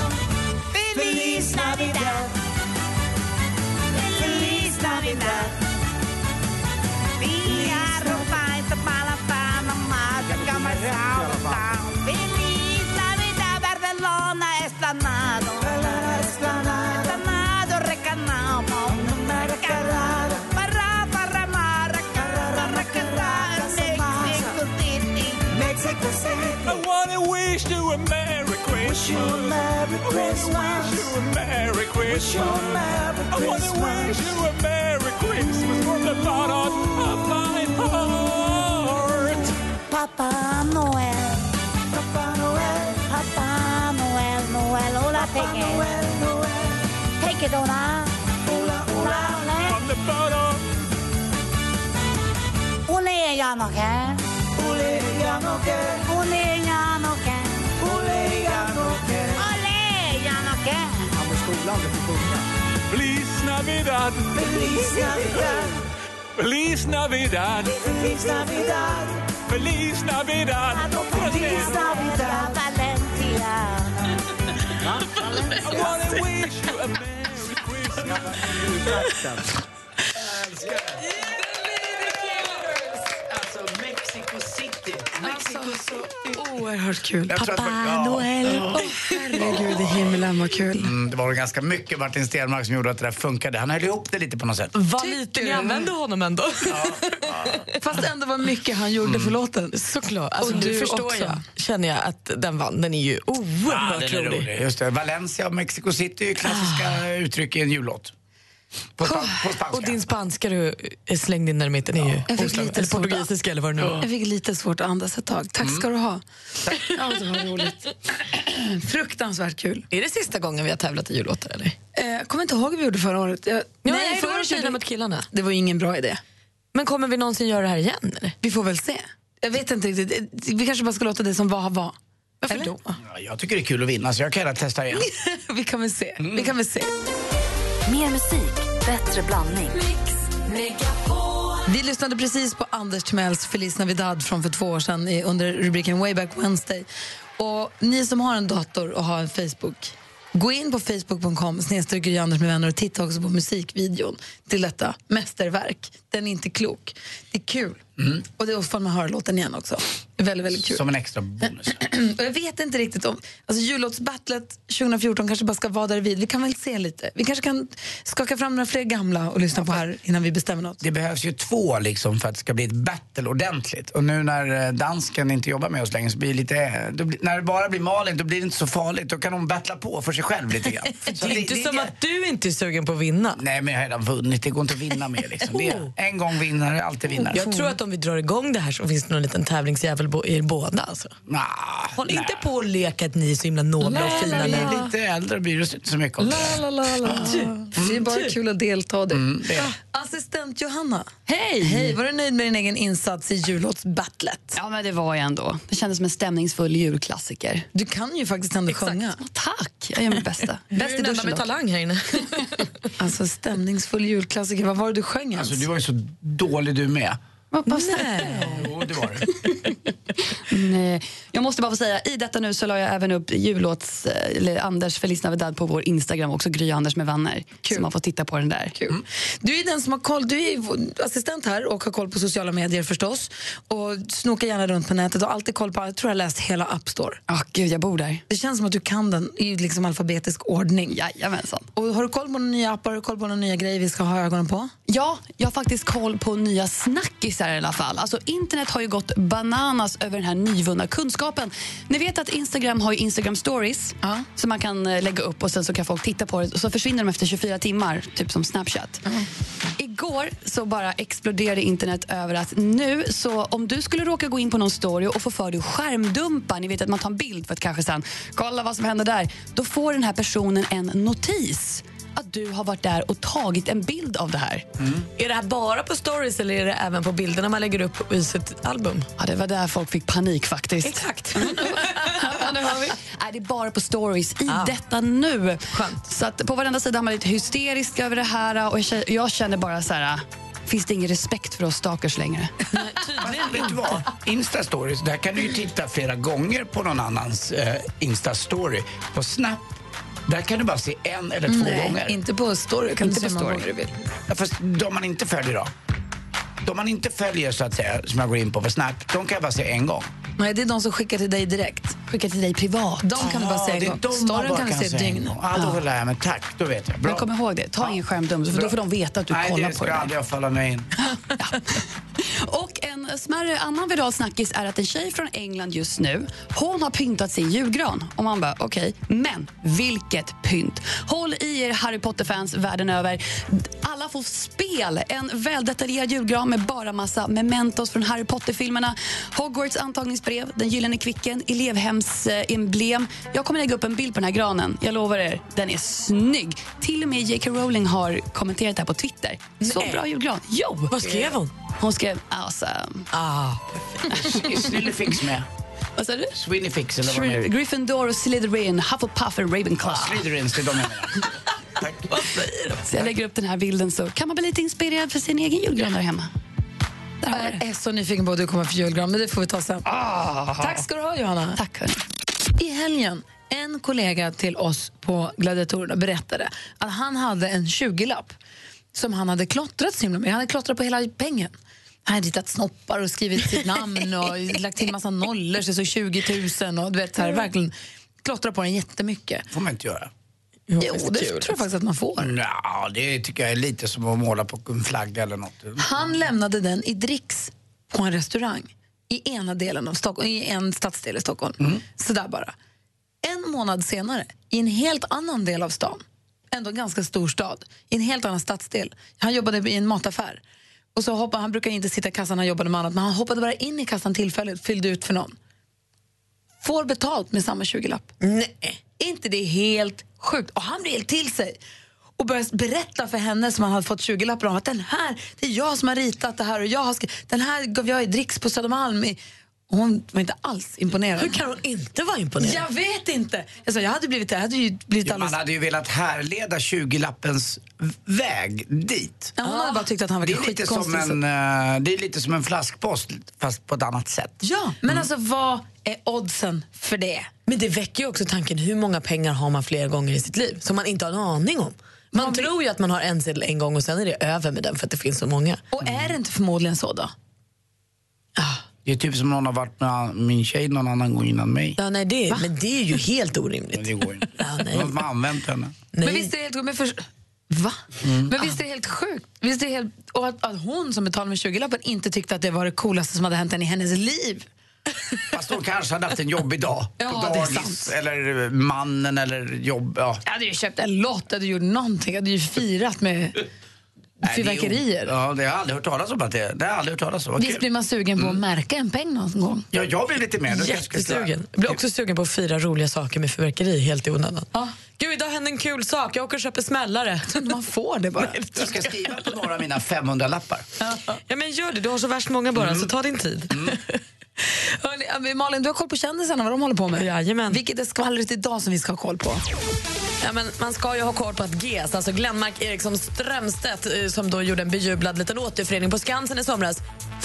Speaker 14: Feliz Navidad. Feliz Navidad. Villaro paita palapana maga camarada town. Feliz Navidad Barcelona esplanado. Esplanado recanamo. Recanamo. Barra barra maracara. Maracara. Mexico City. Mexico City.
Speaker 13: I wanna wish you a merry Christmas. I wanna wish you a merry Christmas. I wanna wish you a merry Christmas from the bottom of my heart.
Speaker 14: Papa Noel. Papa Noel. Papa Noel. Noel. Hola, take it. Take it, hola. Hola, hola.
Speaker 13: From the bottom.
Speaker 14: Ole janoke. Ole janoke. Ole janoke. Ole janoke. Ole janoke.
Speaker 11: Han var i skolan och fick sjunga.
Speaker 13: Feliz Navidad.
Speaker 14: Feliz Navidad.
Speaker 13: Feliz Navidad.
Speaker 14: Feliz Navidad.
Speaker 13: Feliz Navidad.
Speaker 14: Feliz Navidad. Valentia.
Speaker 13: I wanna wish you a merry Christmas.
Speaker 2: Alltså, Mexico City. Mexico City.
Speaker 1: Oerhört kul.
Speaker 2: Jag tror att-
Speaker 1: Pappa
Speaker 2: ja.
Speaker 1: Noel. Åh, herregud i himlen, vad kul.
Speaker 2: Mm, det var väl ganska mycket Martin Stenmarck som gjorde att det där funkade. Han höll ihop det lite på något sätt.
Speaker 3: Vad
Speaker 11: Typ.
Speaker 3: lite ni använde honom ändå.
Speaker 1: Fast ändå var mycket han gjorde
Speaker 2: Mm.
Speaker 1: för låten.
Speaker 3: Såklart. Alltså,
Speaker 1: Och
Speaker 3: och du
Speaker 1: du
Speaker 3: förstår
Speaker 1: också.
Speaker 3: jag, känner jag att den vann. Den är ju
Speaker 2: Ah,
Speaker 3: oerhört
Speaker 2: den är
Speaker 3: rolig. Ah.
Speaker 2: rolig. Just det. Valencia och Mexico City är ju klassiska uttryck i en jullåt. På, span- på spanska.
Speaker 3: Och din spanska du eh, slängde in där i mitten är ju
Speaker 1: Jag fick
Speaker 3: oslam-
Speaker 1: lite
Speaker 3: eller
Speaker 1: svårt-
Speaker 3: portugisiska eller vad det nu var. Mm.
Speaker 1: Jag fick lite svårt att andas ett tag. Tack ska du ha. Ja, det var roligt. Fruktansvärt kul.
Speaker 3: Är det sista gången vi har tävlat i jullåtar eller?
Speaker 1: Eh, Jag kommer inte ihåg hur vi gjorde förra året. Jag,
Speaker 3: nej, det var
Speaker 1: året
Speaker 3: tjejerna
Speaker 1: gjorde-
Speaker 3: mot killarna.
Speaker 1: Det var ju ingen bra idé.
Speaker 3: Men kommer vi någonsin göra det här igen? Eller?
Speaker 1: Vi får väl se. Jag vet inte riktigt. Vi kanske bara ska låta det som var var.
Speaker 3: Varför då?
Speaker 2: Ja, jag tycker det är kul att vinna så jag kan gärna testa igen.
Speaker 1: vi kan väl se.
Speaker 3: Mm.
Speaker 1: Vi kan väl se.
Speaker 5: Mer musik, bättre blandning.
Speaker 1: Vi lyssnade precis på Anders Timells Feliz Navidad från för två år sedan i- under rubriken Wayback Wednesday. Och ni som har en dator och har en Facebook, gå in på facebook.com snedstreck Gry Anders med vänner och titta också på musikvideon till detta mästerverk. Den är inte klok. Det är kul. Och det är ofta man hör låten igen också. Det är väldigt, väldigt kul.
Speaker 2: Mm. Som en extra bonus.
Speaker 1: Och jag vet inte riktigt om... Alltså jullåtsbattlet 2014 kanske bara ska vara där vid. Vi kan väl se lite. Vi kanske kan skaka fram några fler gamla och lyssna på här innan vi bestämmer något.
Speaker 2: Det behövs ju två liksom för att det ska bli ett battle ordentligt. Och nu när eh, dansken inte jobbar med oss längre så blir det lite... eh, Då blir, när det bara blir Malin då blir det inte så farligt. Då kan hon battla på för sig själv lite grann.
Speaker 3: Det är inte som att du inte är sugen på att vinna. Oh.
Speaker 2: Nej, men jag har redan vunnit. Det går inte att vinna mer. Liksom. Det är, en gång vinnare, alltid vinnare.
Speaker 3: Jag tror att om vi drar igång det här så finns det någon liten tävlingsjävel bo- i er båda. Alltså. Håll inte på och leka att ni är så himla nobla och fina.
Speaker 2: vi
Speaker 3: nu.
Speaker 2: är lite äldre bryr oss inte så mycket om det.
Speaker 1: La, la, la, la. Typ. Det är bara kul att delta. Du.
Speaker 2: Ah. typ. Mm, det är det.
Speaker 1: Assistent Johanna, Hej! Hej, var du nöjd med din egen insats i jullåtsbattlet?
Speaker 15: Ja, men det var jag ändå. Det kändes som en stämningsfull julklassiker.
Speaker 1: Du kan ju faktiskt ändå sjunga.
Speaker 15: Tack, jag gör mitt bästa.
Speaker 1: Du är
Speaker 15: Bäst i
Speaker 1: den enda
Speaker 15: duschen
Speaker 1: med
Speaker 15: dock.
Speaker 3: talang här inne.
Speaker 1: Alltså stämningsfull julklassiker, vad var det du sjöng ens?
Speaker 2: Alltså, du var ju så dålig du med.
Speaker 15: Vad- vad sa-
Speaker 2: Jo, det var det.
Speaker 15: Nej. Jag måste bara få säga, i detta nu så la jag även upp jullåts, eh, eller Anders Feliz Navidad på vår Instagram också, Gry Anders med vänner. Så man får titta på den där.
Speaker 1: Kul. Du är den som har koll, du är ju vår assistent här och har koll på sociala medier förstås. Och snokar gärna runt på nätet och har alltid koll på, jag tror jag har läst hela App Store.
Speaker 15: Ja, gud jag bor där.
Speaker 1: Det känns som att du kan den i liksom alfabetisk ordning.
Speaker 15: Jajamensan.
Speaker 1: Och har du koll på några nya appar, har du koll på några nya grejer vi ska ha ögonen på?
Speaker 15: Ja, jag har faktiskt koll på nya snackisar i alla fall. Alltså, internet har ju gått bananas över den här nyvunna kunskapen. Ni vet att Instagram har ju Instagram stories som man kan eh, lägga upp och sen så kan folk titta på det och så försvinner de efter 24 timmar, typ som Snapchat. Igår så bara exploderade internet över att nu så om du skulle råka gå in på någon story och få för dig att skärmdumpa, ni vet att man tar en bild för att kanske sen kolla vad som hände där, då får den här personen en notis att du har varit där och tagit en bild av det här.
Speaker 2: Mm.
Speaker 3: Är det här bara på stories eller är det även på bilderna man lägger upp i sitt album?
Speaker 15: Ja, det var där folk fick panik faktiskt.
Speaker 3: Exakt.
Speaker 15: Ja, nu hör vi. Nej, det är bara på stories i detta nu. Så att på varenda sida har man lite hysterisk över det här och jag känner- jag känner bara så här, finns det ingen respekt för oss stalkers längre?
Speaker 2: Fast vet du vad? Insta-stories, där kan du ju titta flera gånger på någon annans eh, Insta-story. På Snap, där kan du bara se en eller två
Speaker 1: Nej,
Speaker 2: gånger.
Speaker 1: inte på story. Kan
Speaker 2: Inte
Speaker 1: du se
Speaker 2: på
Speaker 1: hur många
Speaker 2: story.
Speaker 1: gånger du vill.
Speaker 2: Ja, fast de man inte följer då? De man inte följer så att säga, som jag går in på på Snap, de kan jag bara se en gång.
Speaker 1: Nej, det är de som skickar till dig direkt.
Speaker 15: Skickar till dig privat.
Speaker 1: De kan du bara
Speaker 2: Ja,
Speaker 1: se en
Speaker 2: det är
Speaker 1: gång.
Speaker 2: de man
Speaker 1: Storyn
Speaker 2: bara
Speaker 1: kan du se ett
Speaker 2: en
Speaker 1: dygn.
Speaker 2: gång. Ja, då lär jag mig. Tack, då vet jag. Bra.
Speaker 15: Men kom ihåg det, ta ingen skärmdump för då
Speaker 2: Bra.
Speaker 15: får de veta att du
Speaker 2: Nej,
Speaker 15: kollar
Speaker 2: det
Speaker 15: på
Speaker 2: ska
Speaker 15: det.
Speaker 2: aldrig jag falla mig in.
Speaker 15: Och en smärre annan viral snackis är att en tjej från England just nu, hon har pyntat sin julgran. Och man bara, okej, men vilket pynt. Håll i er Harry Potter-fans världen över. Alla får spel. En väldetaljerad julgran med bara massa mementos från Harry Potter-filmerna. Hogwarts antagningsbrev, den gyllene kvicken, elevhemsemblem. Jag kommer lägga upp en bild på den här granen. Jag lovar er, den är snygg. Till och med J.K. Rowling har kommenterat det här på Twitter. Så
Speaker 3: Nej.
Speaker 15: bra julgran. Jo!
Speaker 3: Vad skrev hon?
Speaker 15: Hon skrev awesome.
Speaker 3: Ah.
Speaker 2: Snillefix med.
Speaker 15: Vad sa du?
Speaker 2: Sweeney Fix eller vad de heter.
Speaker 15: Gryffindor, och Slytherin, Hufflepuff och Ravenclaw.
Speaker 1: Ah,
Speaker 2: Slytherins, det är de jag menar.
Speaker 15: Så jag lägger upp den här bilden så kan man bli lite inspirerad för sin egen julgran där hemma.
Speaker 1: Jag är så nyfiken på vad du kommer för julgran, men det får vi ta sen.
Speaker 2: Ah,
Speaker 1: Tack ska du ha, Johanna.
Speaker 15: Tack.
Speaker 1: I helgen, en kollega till oss på Gladiatorerna berättade att han hade en 20-lapp som han hade klottrat så himla med. Han hade klottrat på hela pengen. Han hade ritat snoppar och skrivit sitt namn och lagt till massa nollor, så det stod 20 000 och du vet, så här, verkligen klottrat på den jättemycket.
Speaker 2: får man inte göra.
Speaker 1: Jo, det tror jag faktiskt att man får.
Speaker 2: Nja, det tycker jag är lite som att måla på en flagga eller något.
Speaker 1: Han lämnade den i dricks på en restaurang i ena delen av Stockholm, i en stadsdel i Stockholm. Sådär bara. En månad senare, i en helt annan del av stan, ändå en ganska stor stad, i en helt annan stadsdel. Han jobbade i en mataffär. Och så hoppade, han brukar inte sitta i kassan, han jobbade med annat, men han hoppade bara in i kassan tillfälligt, fyllde ut för någon. Får betalt med samma 20-lapp. Nej. inte det helt sjukt? Och han blir helt till sig och börjar berätta för henne som han hade fått 20 lappar om att den här, det är jag som har ritat det här och jag har skri- den här gav jag i dricks på Södermalm. i- Och Hon var inte alls imponerad.
Speaker 3: Hur kan hon inte vara imponerad?
Speaker 1: Jag vet inte. Jag, sa, jag hade blivit, jag hade ju blivit
Speaker 2: Jo, man
Speaker 1: alldeles...
Speaker 2: hade ju velat härleda 20-lappens väg dit.
Speaker 1: Ja, hon hade bara tyckt att han
Speaker 2: Det
Speaker 1: verkade
Speaker 2: är, lite som
Speaker 1: skitkonstig.
Speaker 2: en, eh, det är lite som en flaskpost, fast på ett annat sätt.
Speaker 1: Ja,
Speaker 3: Mm.
Speaker 1: men alltså vad är oddsen för det?
Speaker 3: Men det väcker ju också tanken, hur många pengar har man flera gånger i sitt liv som man inte har en aning om? Man tror ju att man har en sedel en gång och sen är det över med den för att det finns så många.
Speaker 1: Och är det inte förmodligen så då?
Speaker 2: Det är typ som någon har varit med min tjej någon annan gång innan mig.
Speaker 3: Ja, nej, det, men det är ju helt orimligt.
Speaker 2: Men det går inte. De har använt henne.
Speaker 1: Men visst är det helt... Men för, va? Men visst är det helt sjukt? Visst är det helt, och att, att hon som betalade med 20-lappen inte tyckte att det var det coolaste som hade hänt henne i hennes liv.
Speaker 2: Fast hon kanske hade haft en jobbig dag. på
Speaker 1: Ja, det är
Speaker 2: dagis, eller mannen, eller jobb. Ja.
Speaker 1: Jag hade ju köpt en lott, jag hade gjort någonting, jag hade ju firat med
Speaker 2: Nej, det är-
Speaker 1: fyrverkerier.
Speaker 2: Ja, det har jag aldrig hört talas om. Att det, det har jag aldrig hört talas om. Vad
Speaker 1: Visst
Speaker 2: kul.
Speaker 1: blir man sugen på
Speaker 3: Mm.
Speaker 1: att märka en peng någon gång?
Speaker 2: Ja, jag blir lite mer nu. kanske jag ska säga.
Speaker 3: Jättesugen. Jag blir också sugen på att fira roliga saker med fyrverkeri helt i onödan. Gud, idag hände en kul sak. Jag åker och köper smällare.
Speaker 1: Man får det bara.
Speaker 2: Jag ska skriva på några av mina 500-lappar.
Speaker 3: Ja, men gör det. Du har så värst många bara,
Speaker 2: Mm.
Speaker 3: så ta din tid.
Speaker 1: Hörrni, ja, men Malin, du har koll på kändisarna, vad de håller på med? Jajamän. Vilket är skvallret idag som vi ska ha koll på?
Speaker 3: Ja, men man ska ju ha koll på att GES, alltså Glenmark Eriksson Strömstedt eh, som då gjorde en bejublad liten återförening på Skansen i somras,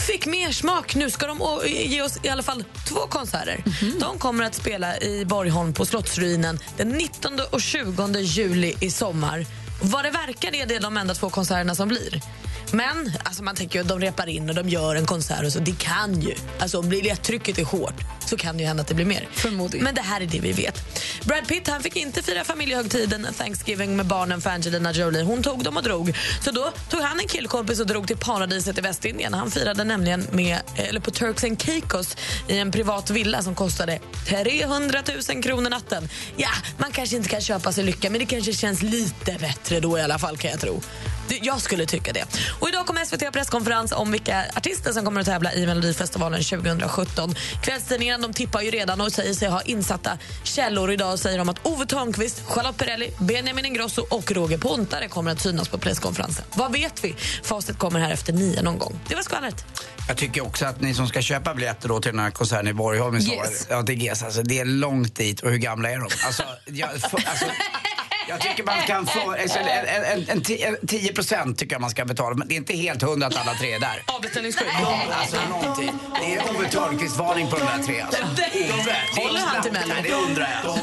Speaker 3: fick mer smak. Nu ska de å- ge oss i alla fall två konserter. De kommer att spela i Borgholm på Slottsruinen den 19 och 20 juli i sommar. Vad det verkar är det de enda två konserterna som blir. Men alltså man tänker ju att de repar in och de gör en konsert och så. Det kan ju. Alltså om biljettrycket är hårt så kan det ju hända att det blir mer. Förmodligen. Men det här är det vi vet. Brad Pitt han fick inte fira familjehögtiden Thanksgiving med barnen för Angelina Jolie. Hon tog dem och drog. Så då tog han en killkompis och drog till paradiset i Västindien. Han firade nämligen med, eller på Turks and Caicos i en privat villa som kostade 300 000 kronor natten. Ja, man kanske inte kan köpa sig lycka men det kanske känns lite bättre då i alla fall kan jag tro. Det- Jag skulle tycka det. Och idag kommer SVT ha presskonferens om vilka artister som kommer att tävla i Melodifestivalen 2017. Kvällstidningarna de tippar ju redan och säger sig ha insatta källor. Idag säger de att Ove Thörnqvist, Charlotte Perrelli, Benjamin Ingrosso och Roger Pontare kommer att synas på presskonferensen. Vad vet vi? Facit kommer här efter nio någon gång. Det var skvallret.
Speaker 2: Jag tycker också att ni som ska köpa biljetter då till den här konserten i Borgholm i sommar,
Speaker 3: Yes.
Speaker 2: ja, det, är, alltså, det är långt dit och hur gamla är de? Alltså, jag, f- alltså, jag tycker man kan få, alltså, en, en, en, en, ti- en 10 procent tycker jag man ska betala, men det är inte helt hundra att alla tre är där.
Speaker 3: Avbeställningsskydd.
Speaker 2: Någon, alltså, någonting. Det är Ove Thörnqvists varning på de där tre. Alltså.
Speaker 3: Håller han till
Speaker 2: Nej,
Speaker 3: mig?
Speaker 2: det undrar jag.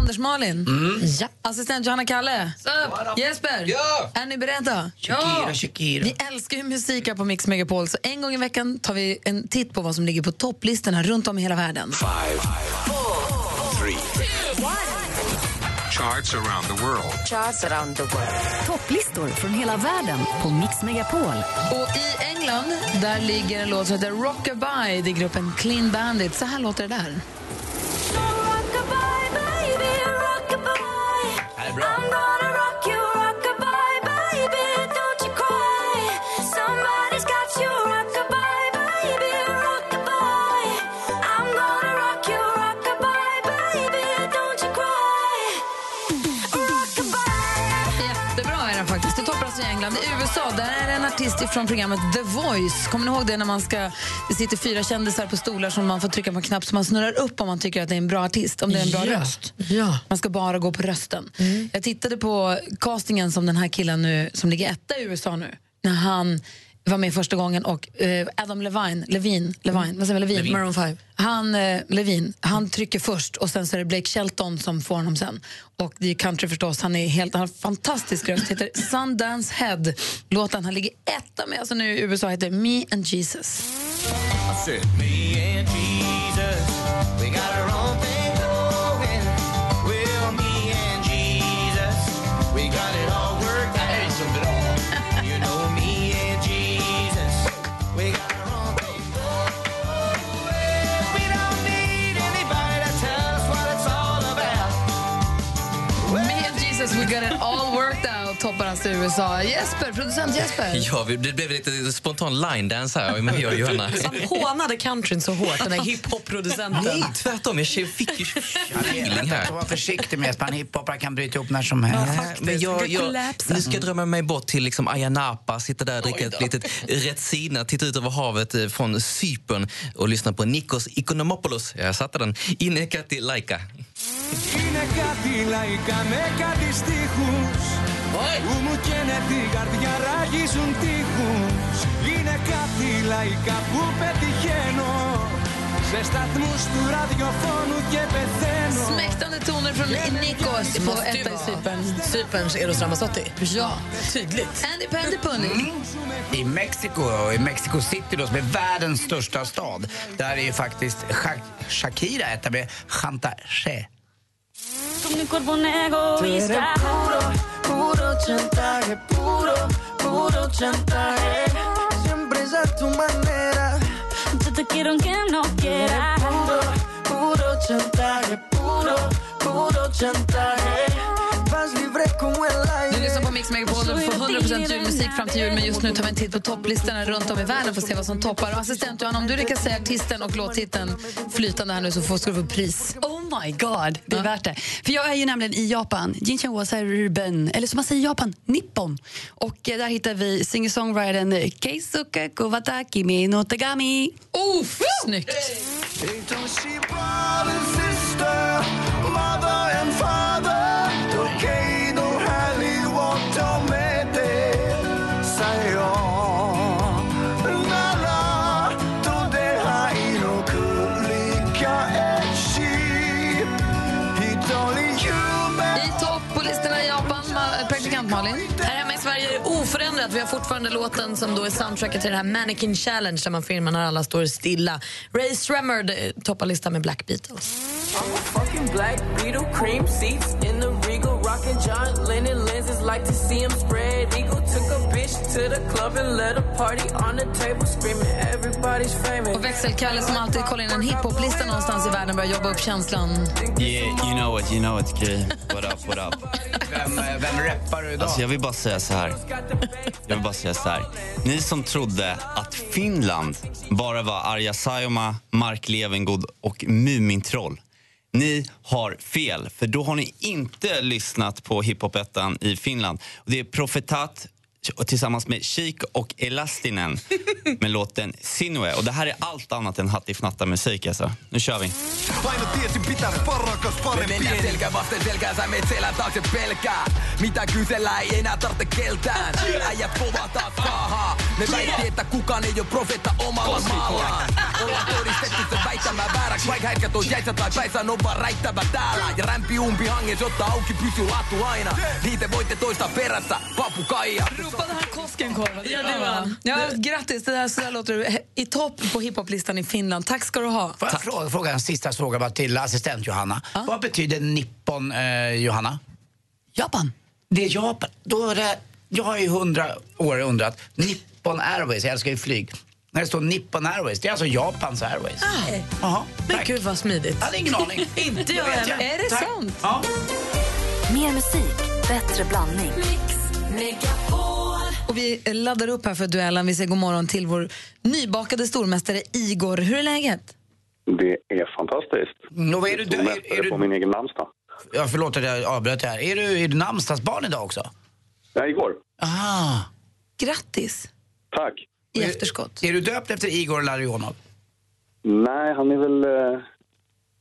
Speaker 1: Anders Malin.
Speaker 2: Mm.
Speaker 1: Assistent Johanna Kalle. Jesper. Är ni beredda?
Speaker 2: Shakira, Shakira.
Speaker 1: Vi älskar ju musik här på Mix Megapol så en gång i veckan tar vi en titt på vad som ligger på topplistorna runt om i hela världen.
Speaker 13: Five, three. Charts around the world.
Speaker 5: Topplistor från hela världen på Mix Megapol.
Speaker 1: Och i England där ligger en låt som heter Rockabye. Det är gruppen Clean Bandit. Så här låter det där. Jättebra är den faktiskt. Det toppas i England. I USA där är det en artist från programmet The Voice. Kommer ni ihåg det när man ska... Det sitter fyra kändisar på stolar som man får trycka på en knapp så man snurrar upp om man tycker att det är en bra artist, om det är en bra
Speaker 3: Ja.
Speaker 1: röst. Man ska bara gå på rösten. Jag tittade på castingen som den här killen nu, som ligger etta i USA nu, när han var med första gången och eh, Adam Levine, Levine, Levine, vad säger man, Levine?
Speaker 3: Levine. Maroon five.
Speaker 1: Han, eh, Levine, han trycker först och sen så är det Blake Shelton som får honom sen. Och det är country förstås, han är helt, han har en fantastisk röst, heter Sundance Head. Låten han ligger etta med alltså nu i USA heter Me and Jesus.
Speaker 13: I said, Me and Jesus, we got our own thing going. Well, me and Jesus, we got it all worked out. Det är så bra. You know me and Jesus, we got our own thing going. We don't need anybody to tell us what it's all about.
Speaker 1: Me and Jesus, we got it all worked out, toppar alltså i USA. Jesper, producent Jesper.
Speaker 8: Ja, vi- det blev lite spontan line dance här med mig och Johanna.
Speaker 3: Han hånade countryn så hårt, den här hiphop-producenten.
Speaker 8: Nej, tvärtom. Jag fick ju feeling här.
Speaker 2: Vänta, Var försiktig med att man hiphopare kan bryta ihop när som
Speaker 8: Nej,
Speaker 2: helst.
Speaker 8: Eh, men jag, jag,
Speaker 2: Kollapsa.
Speaker 8: nu ska jag drömma mig bort till liksom Ayia Napa, sitta där och dricka ett litet Retsina, titta ut över havet eh, från Cypern och lyssna på Nikos Ikonomopoulos. Jag satte den. Inekati Laika.
Speaker 13: Είναι κάτι λαϊκά με κάτι στίχους Που μου καίνε την καρδιά ράγιζουν τείχους Είναι κάτι λαϊκά που πετυχαίνω Σε status του ραδιοφώνου και πεθαίνω
Speaker 1: Smäktande toner från
Speaker 3: Det
Speaker 1: Nikos på
Speaker 3: måste ju
Speaker 1: etta i
Speaker 3: vara
Speaker 1: Cypern.
Speaker 3: Cyperns Eros Ramazzotti.
Speaker 1: Ja.
Speaker 3: Tydligt. Mm.
Speaker 1: Andy Pandy Pundy.
Speaker 2: I Mexiko, i Mexico City då, som är världens största stad, där är ju faktiskt Sha- Shakira etta med Chanta Che.
Speaker 13: Tu mi cuerpo un egoísta puro, puro chantaje, puro, puro chantaje Siempre es a tu manera Yo te quiero aunque no quiera Puro, puro chantaje, puro, puro chantaje Vas libre como el
Speaker 1: Du
Speaker 13: aire
Speaker 1: lyssnar på Mix Megapol och får 100% julmusik fram till jul men just nu tar vi en titt på topplistorna runt om i världen för att se vad som toppar. Och assistent Johanna, om du lyckas säga artisten och låttiteln flytande här nu så får, ska du få pris.
Speaker 15: Oh my god,
Speaker 1: Ah.
Speaker 15: det är värt det. För jag är ju nämligen i Japan, Jinshan Wasa Ruben, eller som man säger i Japan, Nippon. Och eh, där hittar vi singer-songwritern Keisuke Kuwataki med Notagami.
Speaker 1: Oof, snyggt!
Speaker 13: Don't she brother, sister, mother and father Okay, då härlig walk de med det Sayonara Då det här i no kulika etchi Hitoli
Speaker 1: I topp på listorna i Japan, Ma- praktikant Malin.
Speaker 3: Här hemma i Sverige är det oförändrat. Vi har fortfarande låten som då är soundtracket till den här Mannequin Challenge där man filmar när alla står stilla. Ray Sremmerd eh, toppar listan med Black Beatles.
Speaker 16: I'm a fucking black beetle, cream seats in the regal, rocking John Lennon lenses, like to see him spread eagle. Took a bitch to to the club and let a party on the table screaming everybody's famous.
Speaker 1: Och växelkalle som alltid kollar in en hiphoplista någonstans i världen börjar jobba upp känslan.
Speaker 7: Yeah, you know it, you know it, Gry. What up, what up?
Speaker 2: Vem, eh, vem rappar du idag?
Speaker 7: Alltså jag vill bara säga så här. Jag vill bara säga så här. Ni som trodde att Finland bara var Arja Saijonmaa, Mark Levengood och Mumintroll. Ni har fel, för då har ni inte lyssnat på hiphopettan i Finland. Och Det är Profetat tillsammans med Chic och Elastinen med låten Sinue. Och Det här är allt annat än hattifnatta-musik. Alltså. Nu kör vi.
Speaker 13: Paino tiesi pitää porrokas parempi Mennään selkä vasten selkää, sä meet selän taakse pelkää Mitä kysellä ei enää tarvitse keltään Äijät kovaa taas kaahaa Ne väitti, että kukaan ei oo profeetta omalla maallaan Ollaan todistettu se väittämä vääräks Vaikka härkät on jäissä tai päissään on vaan räittävä täällä Ja rämpi umpi hanges ottaa auki, pysy laatu aina Niitä voitte toista perässä, papukaija
Speaker 1: Ropade han Koskenkorva? Ja, det var han. Ja, grattis, det här, så där låter du i topp på hiphoplistan i Finland. Tack ska du ha.
Speaker 2: Får jag fråga, fråga en sista fråga bara till assistent Johanna? Vad betyder nippon, eh, Johanna?
Speaker 15: Japan.
Speaker 2: Det är Japan. Då är det, jag har ju hundra år undrat. Nippon Airways, jag älskar ju flyg. När det står Nippon Airways, det är alltså Japans Airways.
Speaker 3: Men gud vad smidigt.
Speaker 2: Jag hade ingen aning.
Speaker 3: Inte jag
Speaker 2: Det vet
Speaker 3: heller.
Speaker 2: jag.
Speaker 3: Är det
Speaker 2: Tack.
Speaker 3: sant?
Speaker 2: Ja.
Speaker 5: Mer musik, bättre blandning.
Speaker 1: Och vi laddar upp här för duellen. Vi säger god morgon till vår nybakade stormästare Igor. Hur är läget?
Speaker 17: Det är fantastiskt.
Speaker 2: Nå, Mm, vad är du- du- är-
Speaker 17: Stormästare
Speaker 2: är du-
Speaker 17: på min egen namnsdag.
Speaker 2: Ja, förlåt att jag avbröt det här. Är du, är du namnsdagsbarn idag också?
Speaker 17: Ja, igår.
Speaker 2: Ah.
Speaker 1: Grattis.
Speaker 17: Tack.
Speaker 1: I efterskott.
Speaker 2: Är du döpt efter Igor Larionov?
Speaker 17: Nej, han är väl... eh,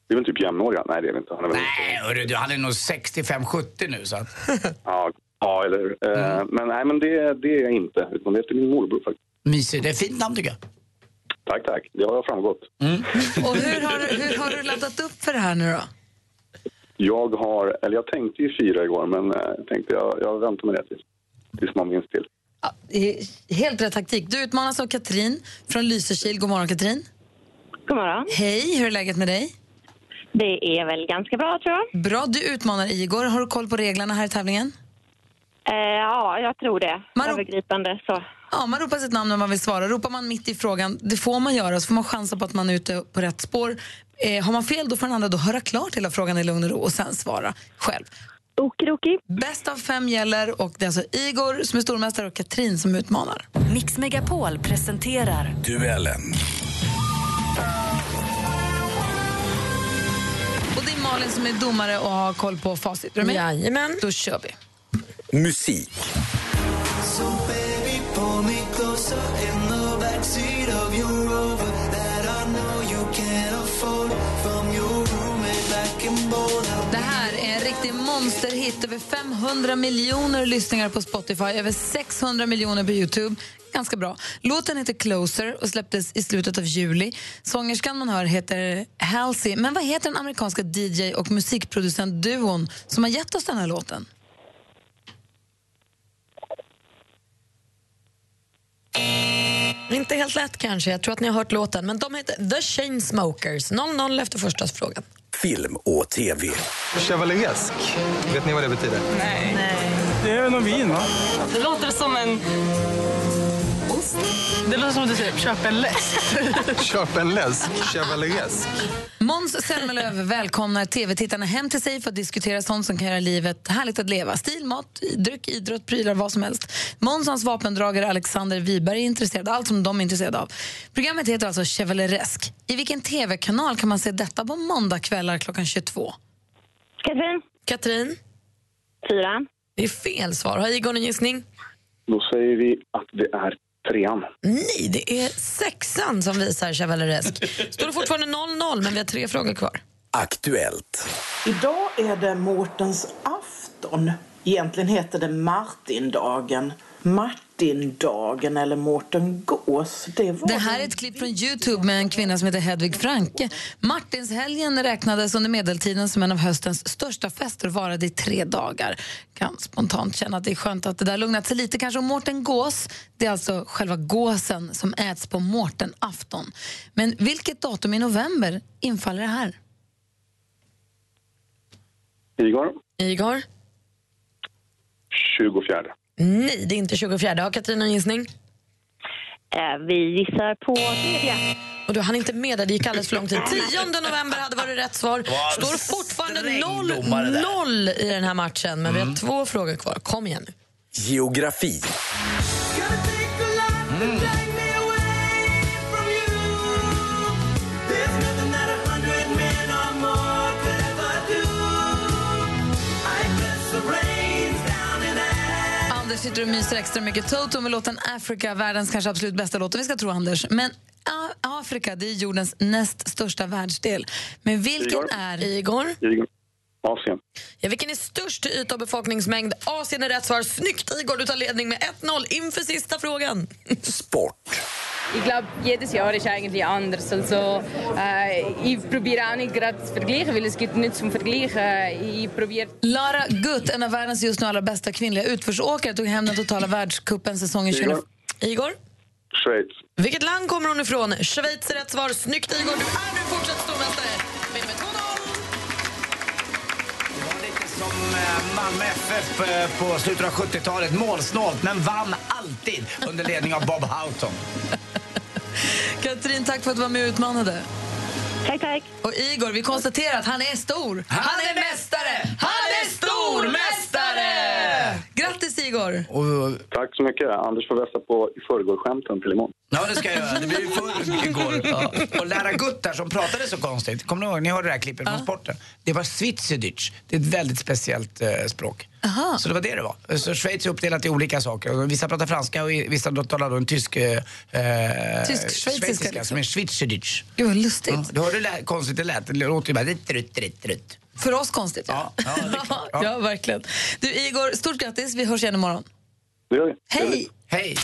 Speaker 17: Det är väl typ jämnåriga? Nej, det är vi inte. Han är väl
Speaker 2: Nej, hörru, du, han är nog 65-70 nu. Så att...
Speaker 17: Ja, ja eller hur? Eh,
Speaker 2: Mm.
Speaker 17: Men, nej, men det, det är jag inte. Utan det är efter min morbror faktiskt.
Speaker 2: Mysigt. Det är ett fint namn tycker jag. Mm.
Speaker 17: Tack, tack. Det har framgått.
Speaker 1: Och hur har, du- hur har du laddat upp för det här nu då?
Speaker 17: Jag har... Eller jag tänkte ju fyra igår, men eh, tänkte jag, jag väntar med det tills, tills man minns till.
Speaker 1: Eh, Helt rätt taktik. Du utmanas av Katrin från Lysekil. God morgon Katrin.
Speaker 6: God morgon.
Speaker 1: Hej, hur är läget med dig?
Speaker 6: Det är väl ganska bra tror jag.
Speaker 1: Bra, du utmanar Igor. Har du koll på reglerna här i tävlingen?
Speaker 6: Eh, ja, jag tror det.
Speaker 1: Maro-
Speaker 6: Övergripande så.
Speaker 1: Ja, man ropar sitt namn när man vill svara. Ropar man mitt i frågan, det får man göra, så får man chansa på att man är ute på rätt spår. Eh, har man fel, då får den andra då höra klart hela frågan i lugn och ro och sen svara själv.
Speaker 6: Okidoki.
Speaker 1: Bäst av fem gäller och det är alltså Igor som är stormästare och Katrin som utmanar.
Speaker 5: Mix Megapol presenterar
Speaker 13: Duellen.
Speaker 1: Och det är Malin som är domare och har koll på facit. Är du med?
Speaker 3: Jajamän.
Speaker 1: Då kör vi.
Speaker 13: Musik.
Speaker 18: So baby, pull me closer in the backseat of your Rover that I know you can't afford. From your roommate back in Boulder.
Speaker 1: Det här är en riktig monsterhit. Över 500 miljoner lyssningar på Spotify, över 600 miljoner på Youtube. Ganska bra. Låten heter Closer och släpptes i slutet av juli. Sångerskan man hör heter Halsey. Men vad heter den amerikanska DJ och musikproducentduon som har gett oss den här låten?
Speaker 3: Inte helt lätt kanske. Jag tror att ni har hört låten. Men de heter The Chainsmokers. 0-0 efter första frågan.
Speaker 11: Film och TV. Chevaliesk. Vet ni vad det betyder?
Speaker 16: Nej.
Speaker 11: Det är väl någon vin, va?
Speaker 16: Det låter som en... Ost? Det låter som att du säger köp en läsk.
Speaker 11: Köpenläsk. Chevaliesk.
Speaker 1: Måns Zelmerlöw välkomnar tv-tittarna hem till sig för att diskutera sånt som kan göra livet härligt att leva. Stil, mat, dryck, idrott, prylar, vad som helst. Måns och hans vapendragare Alexander Wiberg är intresserad av allt som de är intresserade av. Programmet heter alltså Chevaleresk. I vilken tv-kanal kan man se detta på måndagkvällar klockan 22?
Speaker 6: Katrin.
Speaker 3: Katrin.
Speaker 6: Fyran.
Speaker 3: Det är fel svar. Har Igor en gissning?
Speaker 17: Då säger vi att det är trean.
Speaker 3: Nej, det är sexan som visar Chevaleresk. Står det fortfarande 0-0, men vi har tre frågor kvar.
Speaker 11: Aktuellt.
Speaker 16: Idag är det Mårtens afton. Egentligen heter det Martindagen. Martindagen eller Mårten Gås. Det var...
Speaker 1: Det här är ett klipp från Youtube med en kvinna som heter Hedvig Franke. Martinshelgen räknades under medeltiden som en av höstens största fester och varade i tre dagar. Kan spontant känna att det är skönt att det där lugnat sig lite. Kanske om Mårten Gås, det är alltså själva gåsen som äts på Mårtenafton. Men vilket datum i november infaller det här?
Speaker 17: Igor,
Speaker 3: Igor?
Speaker 17: 24.
Speaker 3: Nej, det är inte 24. Har Katarina en gissning?
Speaker 19: Eh, Vi gissar på tredje.
Speaker 3: Och du hann inte med där, det gick alldeles för lång tid. 10 november hade varit rätt svar. Står fortfarande
Speaker 20: domare där.
Speaker 3: 0-0 i den här matchen, men vi har två frågor kvar. Kom igen nu.
Speaker 20: Geografi.
Speaker 1: Anders sitter och myser extra mycket. Toto med låten Africa, världens kanske absolut bästa låt om vi ska tro Anders. Men A- Afrika, det är jordens näst största världsdel. Men vilken
Speaker 3: Igor.
Speaker 1: är... Igor?
Speaker 17: Asien.
Speaker 3: Ja, vilken är störst till yta och befolkningsmängd? Asien är rätt svar. Snyggt Igor, du tar ledning med 1-0 inför sista frågan.
Speaker 21: Ich glaube, jedes Jahr ist eigentlich anders. Also, äh, ich probiere auch nicht gerade zu vergleichen, weil es gibt nichts zum Vergleichen. Ich probiere...
Speaker 1: Lara Gutt, en av världens just nu allra bästa kvinnliga utförsåkare, tog hem den totala världscupen säsongen 20...
Speaker 3: Igor?
Speaker 17: Schweiz.
Speaker 3: Vilket land kommer hon ifrån? Schweiz är rätt svar. Snyggt Igor, du är nu fortsatt stormästare. Vinner med 2-0.
Speaker 2: Som eh, Malmö FF eh, på slutet av 70-talet, målsnålt, men vann alltid under ledning av Bob Houghton.
Speaker 1: Katrin, tack för att du var med och utmanade. Tack, tack. Och Igor, vi konstaterar att han är stor. Han, är mästare! Han är stormästare! Grattis, Igor!
Speaker 17: Tack så mycket. Anders får vässa på i förrgår-skämten till imorgon.
Speaker 2: Ja, det ska jag göra. Det blir ju för igår. Ja. Och Lära Guttar som pratade så konstigt. Kommer ni ihåg? Ni hörde det här klippet från sporten. Det var Schweizerdeutsch. Det är ett väldigt speciellt eh, språk.
Speaker 1: Aha.
Speaker 2: Så det var det det var. Så Schweiz är uppdelat i olika saker. Och Vissa pratar franska och i- vissa talar då en tysk... Eh, eh,
Speaker 1: Tysk-schweiziska liksom.
Speaker 2: Som är Schweizerdeutsch.
Speaker 1: Gud, vad lustigt.
Speaker 2: Ja, du hörde hur lä- konstigt det lät. Det låter ju bara... Rutt, rutt, rutt, rutt.
Speaker 1: För oss konstigt, ja. Ja, verkligen. Du, Igor, stort grattis. Vi hörs igen imorgon.
Speaker 17: Det gör vi.
Speaker 1: Hej!
Speaker 2: Hej!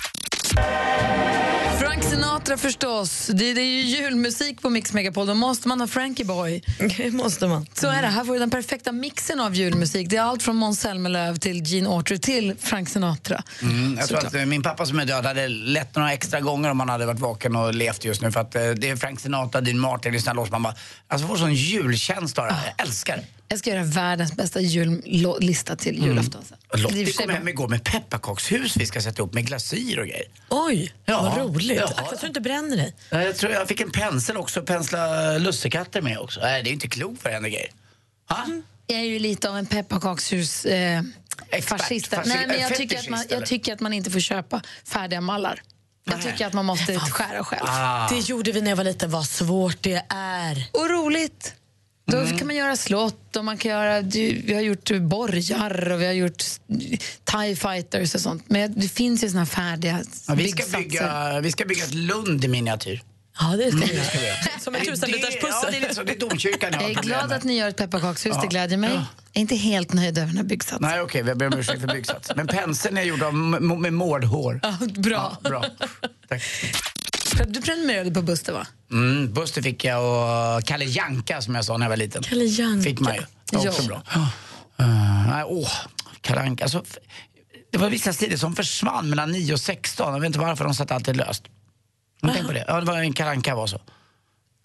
Speaker 1: Frank Sinatra förstås. Det, det är ju julmusik på Mix Megapol. Då måste man ha Frankie Boy.
Speaker 3: Det måste man.
Speaker 1: Så är det. Här får du den perfekta mixen av julmusik. Det är allt från Måns Zelmerlöw till Gene Autry till Frank Sinatra.
Speaker 2: Mm, jag tror
Speaker 1: Såklart.
Speaker 2: att eh, min pappa som är död hade lett några extra gånger om han hade varit vaken och levt just nu. För att eh, det är Frank Sinatra, Dean Martin, lyssnar loss. Man bara, alltså får sån julkänsla av det här. Jag älskar det.
Speaker 1: Jag ska göra världens bästa jullista till Mm. julafton. sen. Det är i och
Speaker 2: Mm. Lottie
Speaker 1: för sig
Speaker 2: kom hem igår med pepparkakshus vi ska sätta upp med glasyr och grejer.
Speaker 3: Oj,
Speaker 2: Ja.
Speaker 3: vad roligt.
Speaker 2: Ja.
Speaker 3: Akta så du inte bränner dig.
Speaker 2: Nej, Jag tror jag fick en pensel också att pensla lussekatter med också. Nej, det är inte klokt vad det händer grejer. Ah.
Speaker 1: Jag är ju lite av en pepparkakshus... Eh, fascist.
Speaker 2: fascist- eh,
Speaker 1: Nej, men jag,
Speaker 2: fetischist,
Speaker 1: tycker att man,
Speaker 2: eller?
Speaker 1: jag tycker att man inte får köpa färdiga mallar. Jag tycker att man måste skära själv.
Speaker 2: Ah.
Speaker 3: Det gjorde vi när jag var liten. Vad svårt det är.
Speaker 1: Och roligt. Då
Speaker 2: Mm.
Speaker 1: kan man göra slott och man kan göra, du- vi har gjort borgar och vi har gjort TIE fighters och sånt. Men det finns ju såna här färdiga
Speaker 2: Ja, vi, ska
Speaker 1: byggsatser.
Speaker 2: bygga, vi ska bygga ett Lund i miniatyr.
Speaker 3: Ja, det
Speaker 2: ska vi göra.
Speaker 3: Som ett tusenbitars
Speaker 2: Ja, det är
Speaker 3: pussel.
Speaker 2: lite så. Det är domkyrkan
Speaker 1: Jag
Speaker 2: har
Speaker 1: är
Speaker 2: problem
Speaker 1: glad
Speaker 2: med.
Speaker 1: att ni gör ett pepparkakshus,
Speaker 2: Ja.
Speaker 1: det glädjer mig.
Speaker 2: Ja.
Speaker 1: Jag är inte helt nöjd över den här byggsatsen.
Speaker 2: Nej, okej, jag ber om ursäkt för byggsats. Men penseln är gjord av m- med mårdhår.
Speaker 1: Ja, bra.
Speaker 2: Ja, bra.
Speaker 1: Du prenumererade på Buster, va?
Speaker 2: Mm, Buster fick jag och Kalle Janka som jag sa när jag var liten.
Speaker 3: Kalle Janka.
Speaker 2: Fick man ju. Det var också
Speaker 3: Ja.
Speaker 2: bra. Eh, nej, Åh, Kalle Anka. Alltså, f- det var vissa sidor som försvann mellan 9 och 16. Jag vet inte varför, de satt alltid löst. Men tänk på det. Ja, det var en Kalle Anka var så.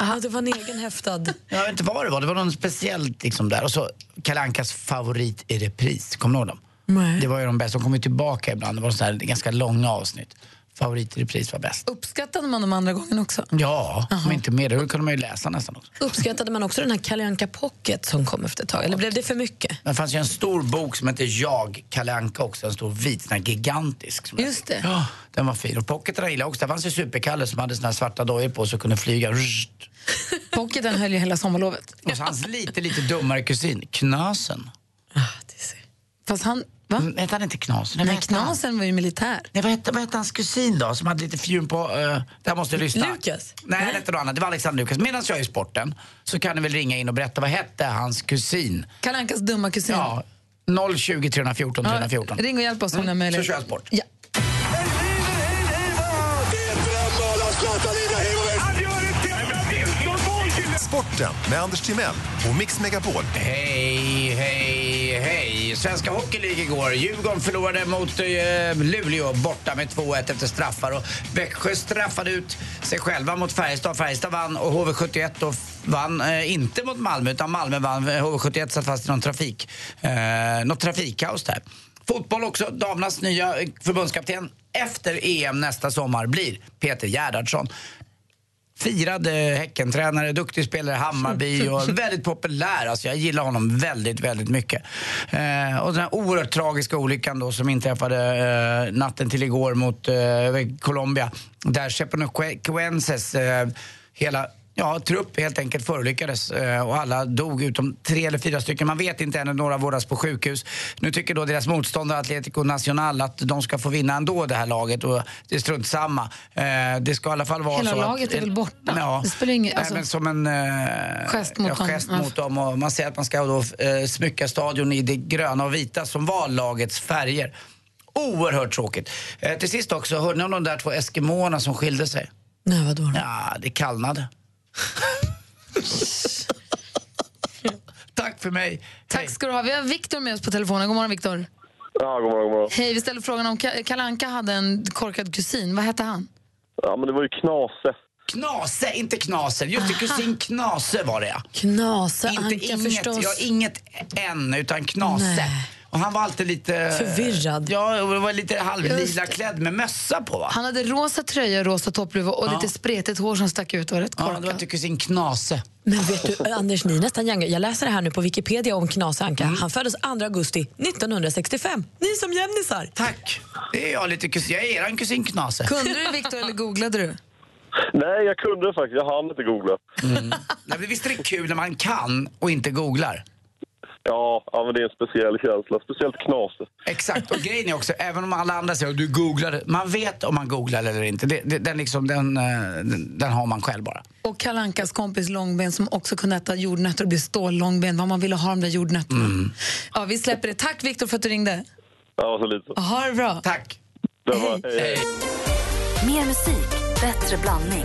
Speaker 3: Ja, det var en egen häftad.
Speaker 2: Jag vet inte vad det var. Det var någon speciellt liksom där. Och så Kalle Ankas favorit i repris. Kommer du ihåg dem?
Speaker 3: Nej.
Speaker 2: Det var ju de bästa. De kom ju tillbaka ibland. Det var sådana här ganska långa avsnitt. Favorit i repris var bäst.
Speaker 1: Uppskattade man dem andra gången också?
Speaker 2: Ja, om inte mer. Det kunde man ju läsa nästan också.
Speaker 3: Uppskattade man också den här Kalle Anka Pocket som kom efter ett tag? Eller blev det för mycket?
Speaker 2: Det fanns ju en stor bok som hette Jag, Kalle Anka också. En stor vit, sån här gigantisk. Som
Speaker 1: Just det.
Speaker 2: Ja, den var fin. Och pocketarna gillade jag också. Där fanns ju Super-Kalle som hade såna här svarta dojor på så kunde flyga. Rrrt.
Speaker 1: Pocketen höll ju hela sommarlovet.
Speaker 2: Och så hans lite, lite dummare kusin, Knasen.
Speaker 1: Fast han, va?
Speaker 2: Hette han inte Knasen?
Speaker 1: Nej, Knasen var ju militär.
Speaker 2: Nej, vad hette, vad hette hans kusin då, som hade lite fjun på... Uh, där måste jag lyssna.
Speaker 1: Lukas?
Speaker 2: Nej, det hette något annat. Det var Alexander Lukas. Medan jag är i sporten så kan ni väl ringa in och berätta vad hette hans kusin?
Speaker 1: Kalle Ankas dumma kusin.
Speaker 2: Ja, 020 314 314.
Speaker 1: Ja, ring och hjälp oss om ni har möjlighet.
Speaker 2: Så Mm. kör jag sport.
Speaker 1: Ja.
Speaker 22: Sporten med Anders Timell och Mix Megapol.
Speaker 2: Hej, hej, hej. Svenska Hockey League igår. Djurgården förlorade mot eh, Luleå borta med 2-1 efter straffar. Och Växjö straffade ut sig själva mot Färjestad. Färjestad vann och HV71 då f- vann eh, inte mot Malmö utan Malmö vann. Eh, HV71 satt fast i någon trafik, eh, något trafikkaos där. Fotboll också. Damernas nya eh, förbundskapten efter EM nästa sommar blir Peter Gerhardsson. Firad eh, Häckentränare, duktig spelare i Hammarby och väldigt populär. Alltså jag gillar honom väldigt, väldigt mycket. Eh, och den här oerhört tragiska olyckan då som inträffade eh, natten till igår mot eh, över Colombia. Där Cheponoquenses, eh, hela ja, trupp helt enkelt förolyckades eh, och alla dog utom tre eller fyra stycken. Man vet inte ännu, några vårdas på sjukhus. Nu tycker då deras motståndare Atletico Nacional att de ska få vinna ändå det här laget och det är strunt samma. Eh, det ska i alla fall vara
Speaker 1: Hela
Speaker 2: så Mm.
Speaker 1: laget är väl borta?
Speaker 2: Ja.
Speaker 1: Det spelar ingen-
Speaker 2: Nej,
Speaker 1: alltså-
Speaker 2: men som en eh,
Speaker 1: Gest mot
Speaker 2: ja,
Speaker 1: dem.
Speaker 2: gest
Speaker 1: Ja.
Speaker 2: mot dem. Och man säger att man ska då, eh, smycka stadion i det gröna och vita som var lagets färger. Oerhört tråkigt. Eh, till sist också, hörde ni om de där två eskimåerna som skilde sig?
Speaker 3: Nej, vadå?
Speaker 1: Mm.
Speaker 2: Ja, det kallnade. Tack för mig.
Speaker 1: Tack ska du ha. Vi har Viktor med oss på telefonen. God morgon, Viktor.
Speaker 23: Ja, god morgon, god morgon.
Speaker 1: Hej, vi ställde frågan om Ka- Kalle Anka hade en korkad kusin. Vad hette han?
Speaker 23: Ja, men det var ju Knase.
Speaker 2: Knase, inte Knaser. Just det, kusin Knase var det ja.
Speaker 3: Knase,
Speaker 2: inte
Speaker 3: Anka
Speaker 2: inget,
Speaker 3: förstås.
Speaker 2: Ja, inget än, utan Knase.
Speaker 3: Nej.
Speaker 2: Och han var alltid lite...
Speaker 3: Förvirrad.
Speaker 2: Ja, och var lite
Speaker 1: Just
Speaker 2: halvlila
Speaker 1: det.
Speaker 2: klädd med mössa på va?
Speaker 1: Han hade rosa tröja, rosa toppluva och
Speaker 2: Ja.
Speaker 1: lite spretigt hår som stack ut. Det Var rätt
Speaker 2: Ja, det var
Speaker 1: korkat.
Speaker 2: till kusin Knase.
Speaker 3: Men vet du, Anders, ni är nästan young. Jag läser det här nu på Wikipedia om Knas Anka. Han föddes 2 augusti 1965. Ni som jämnisar.
Speaker 2: Tack. Det är jag lite kusin. Jag är eran kusin Knase.
Speaker 1: Kunde du Viktor eller googlade du?
Speaker 23: Nej, jag kunde faktiskt. Jag hann inte googla.
Speaker 2: Mm. Nej, men visst är det kul när man kan och inte googlar?
Speaker 23: Ja, ja men det är en speciell känsla. Speciellt Knase.
Speaker 2: Exakt, och grejen är också, även om alla andra säger att du googlade, man vet om man googlar eller inte. Det, det, den, liksom, den, eh, den, den har man själv bara.
Speaker 1: Och Kalle Ankas kompis Långben som också kunde äta jordnötter och bli stållångben. Vad man ville ha de där jordnötterna.
Speaker 17: Mm.
Speaker 1: Ja, vi släpper det. Tack Viktor för att du ringde.
Speaker 23: Ja, så lite.
Speaker 1: Ha det bra.
Speaker 2: Tack.
Speaker 23: Det var, hej, hej.
Speaker 5: Mer musik, bättre blandning.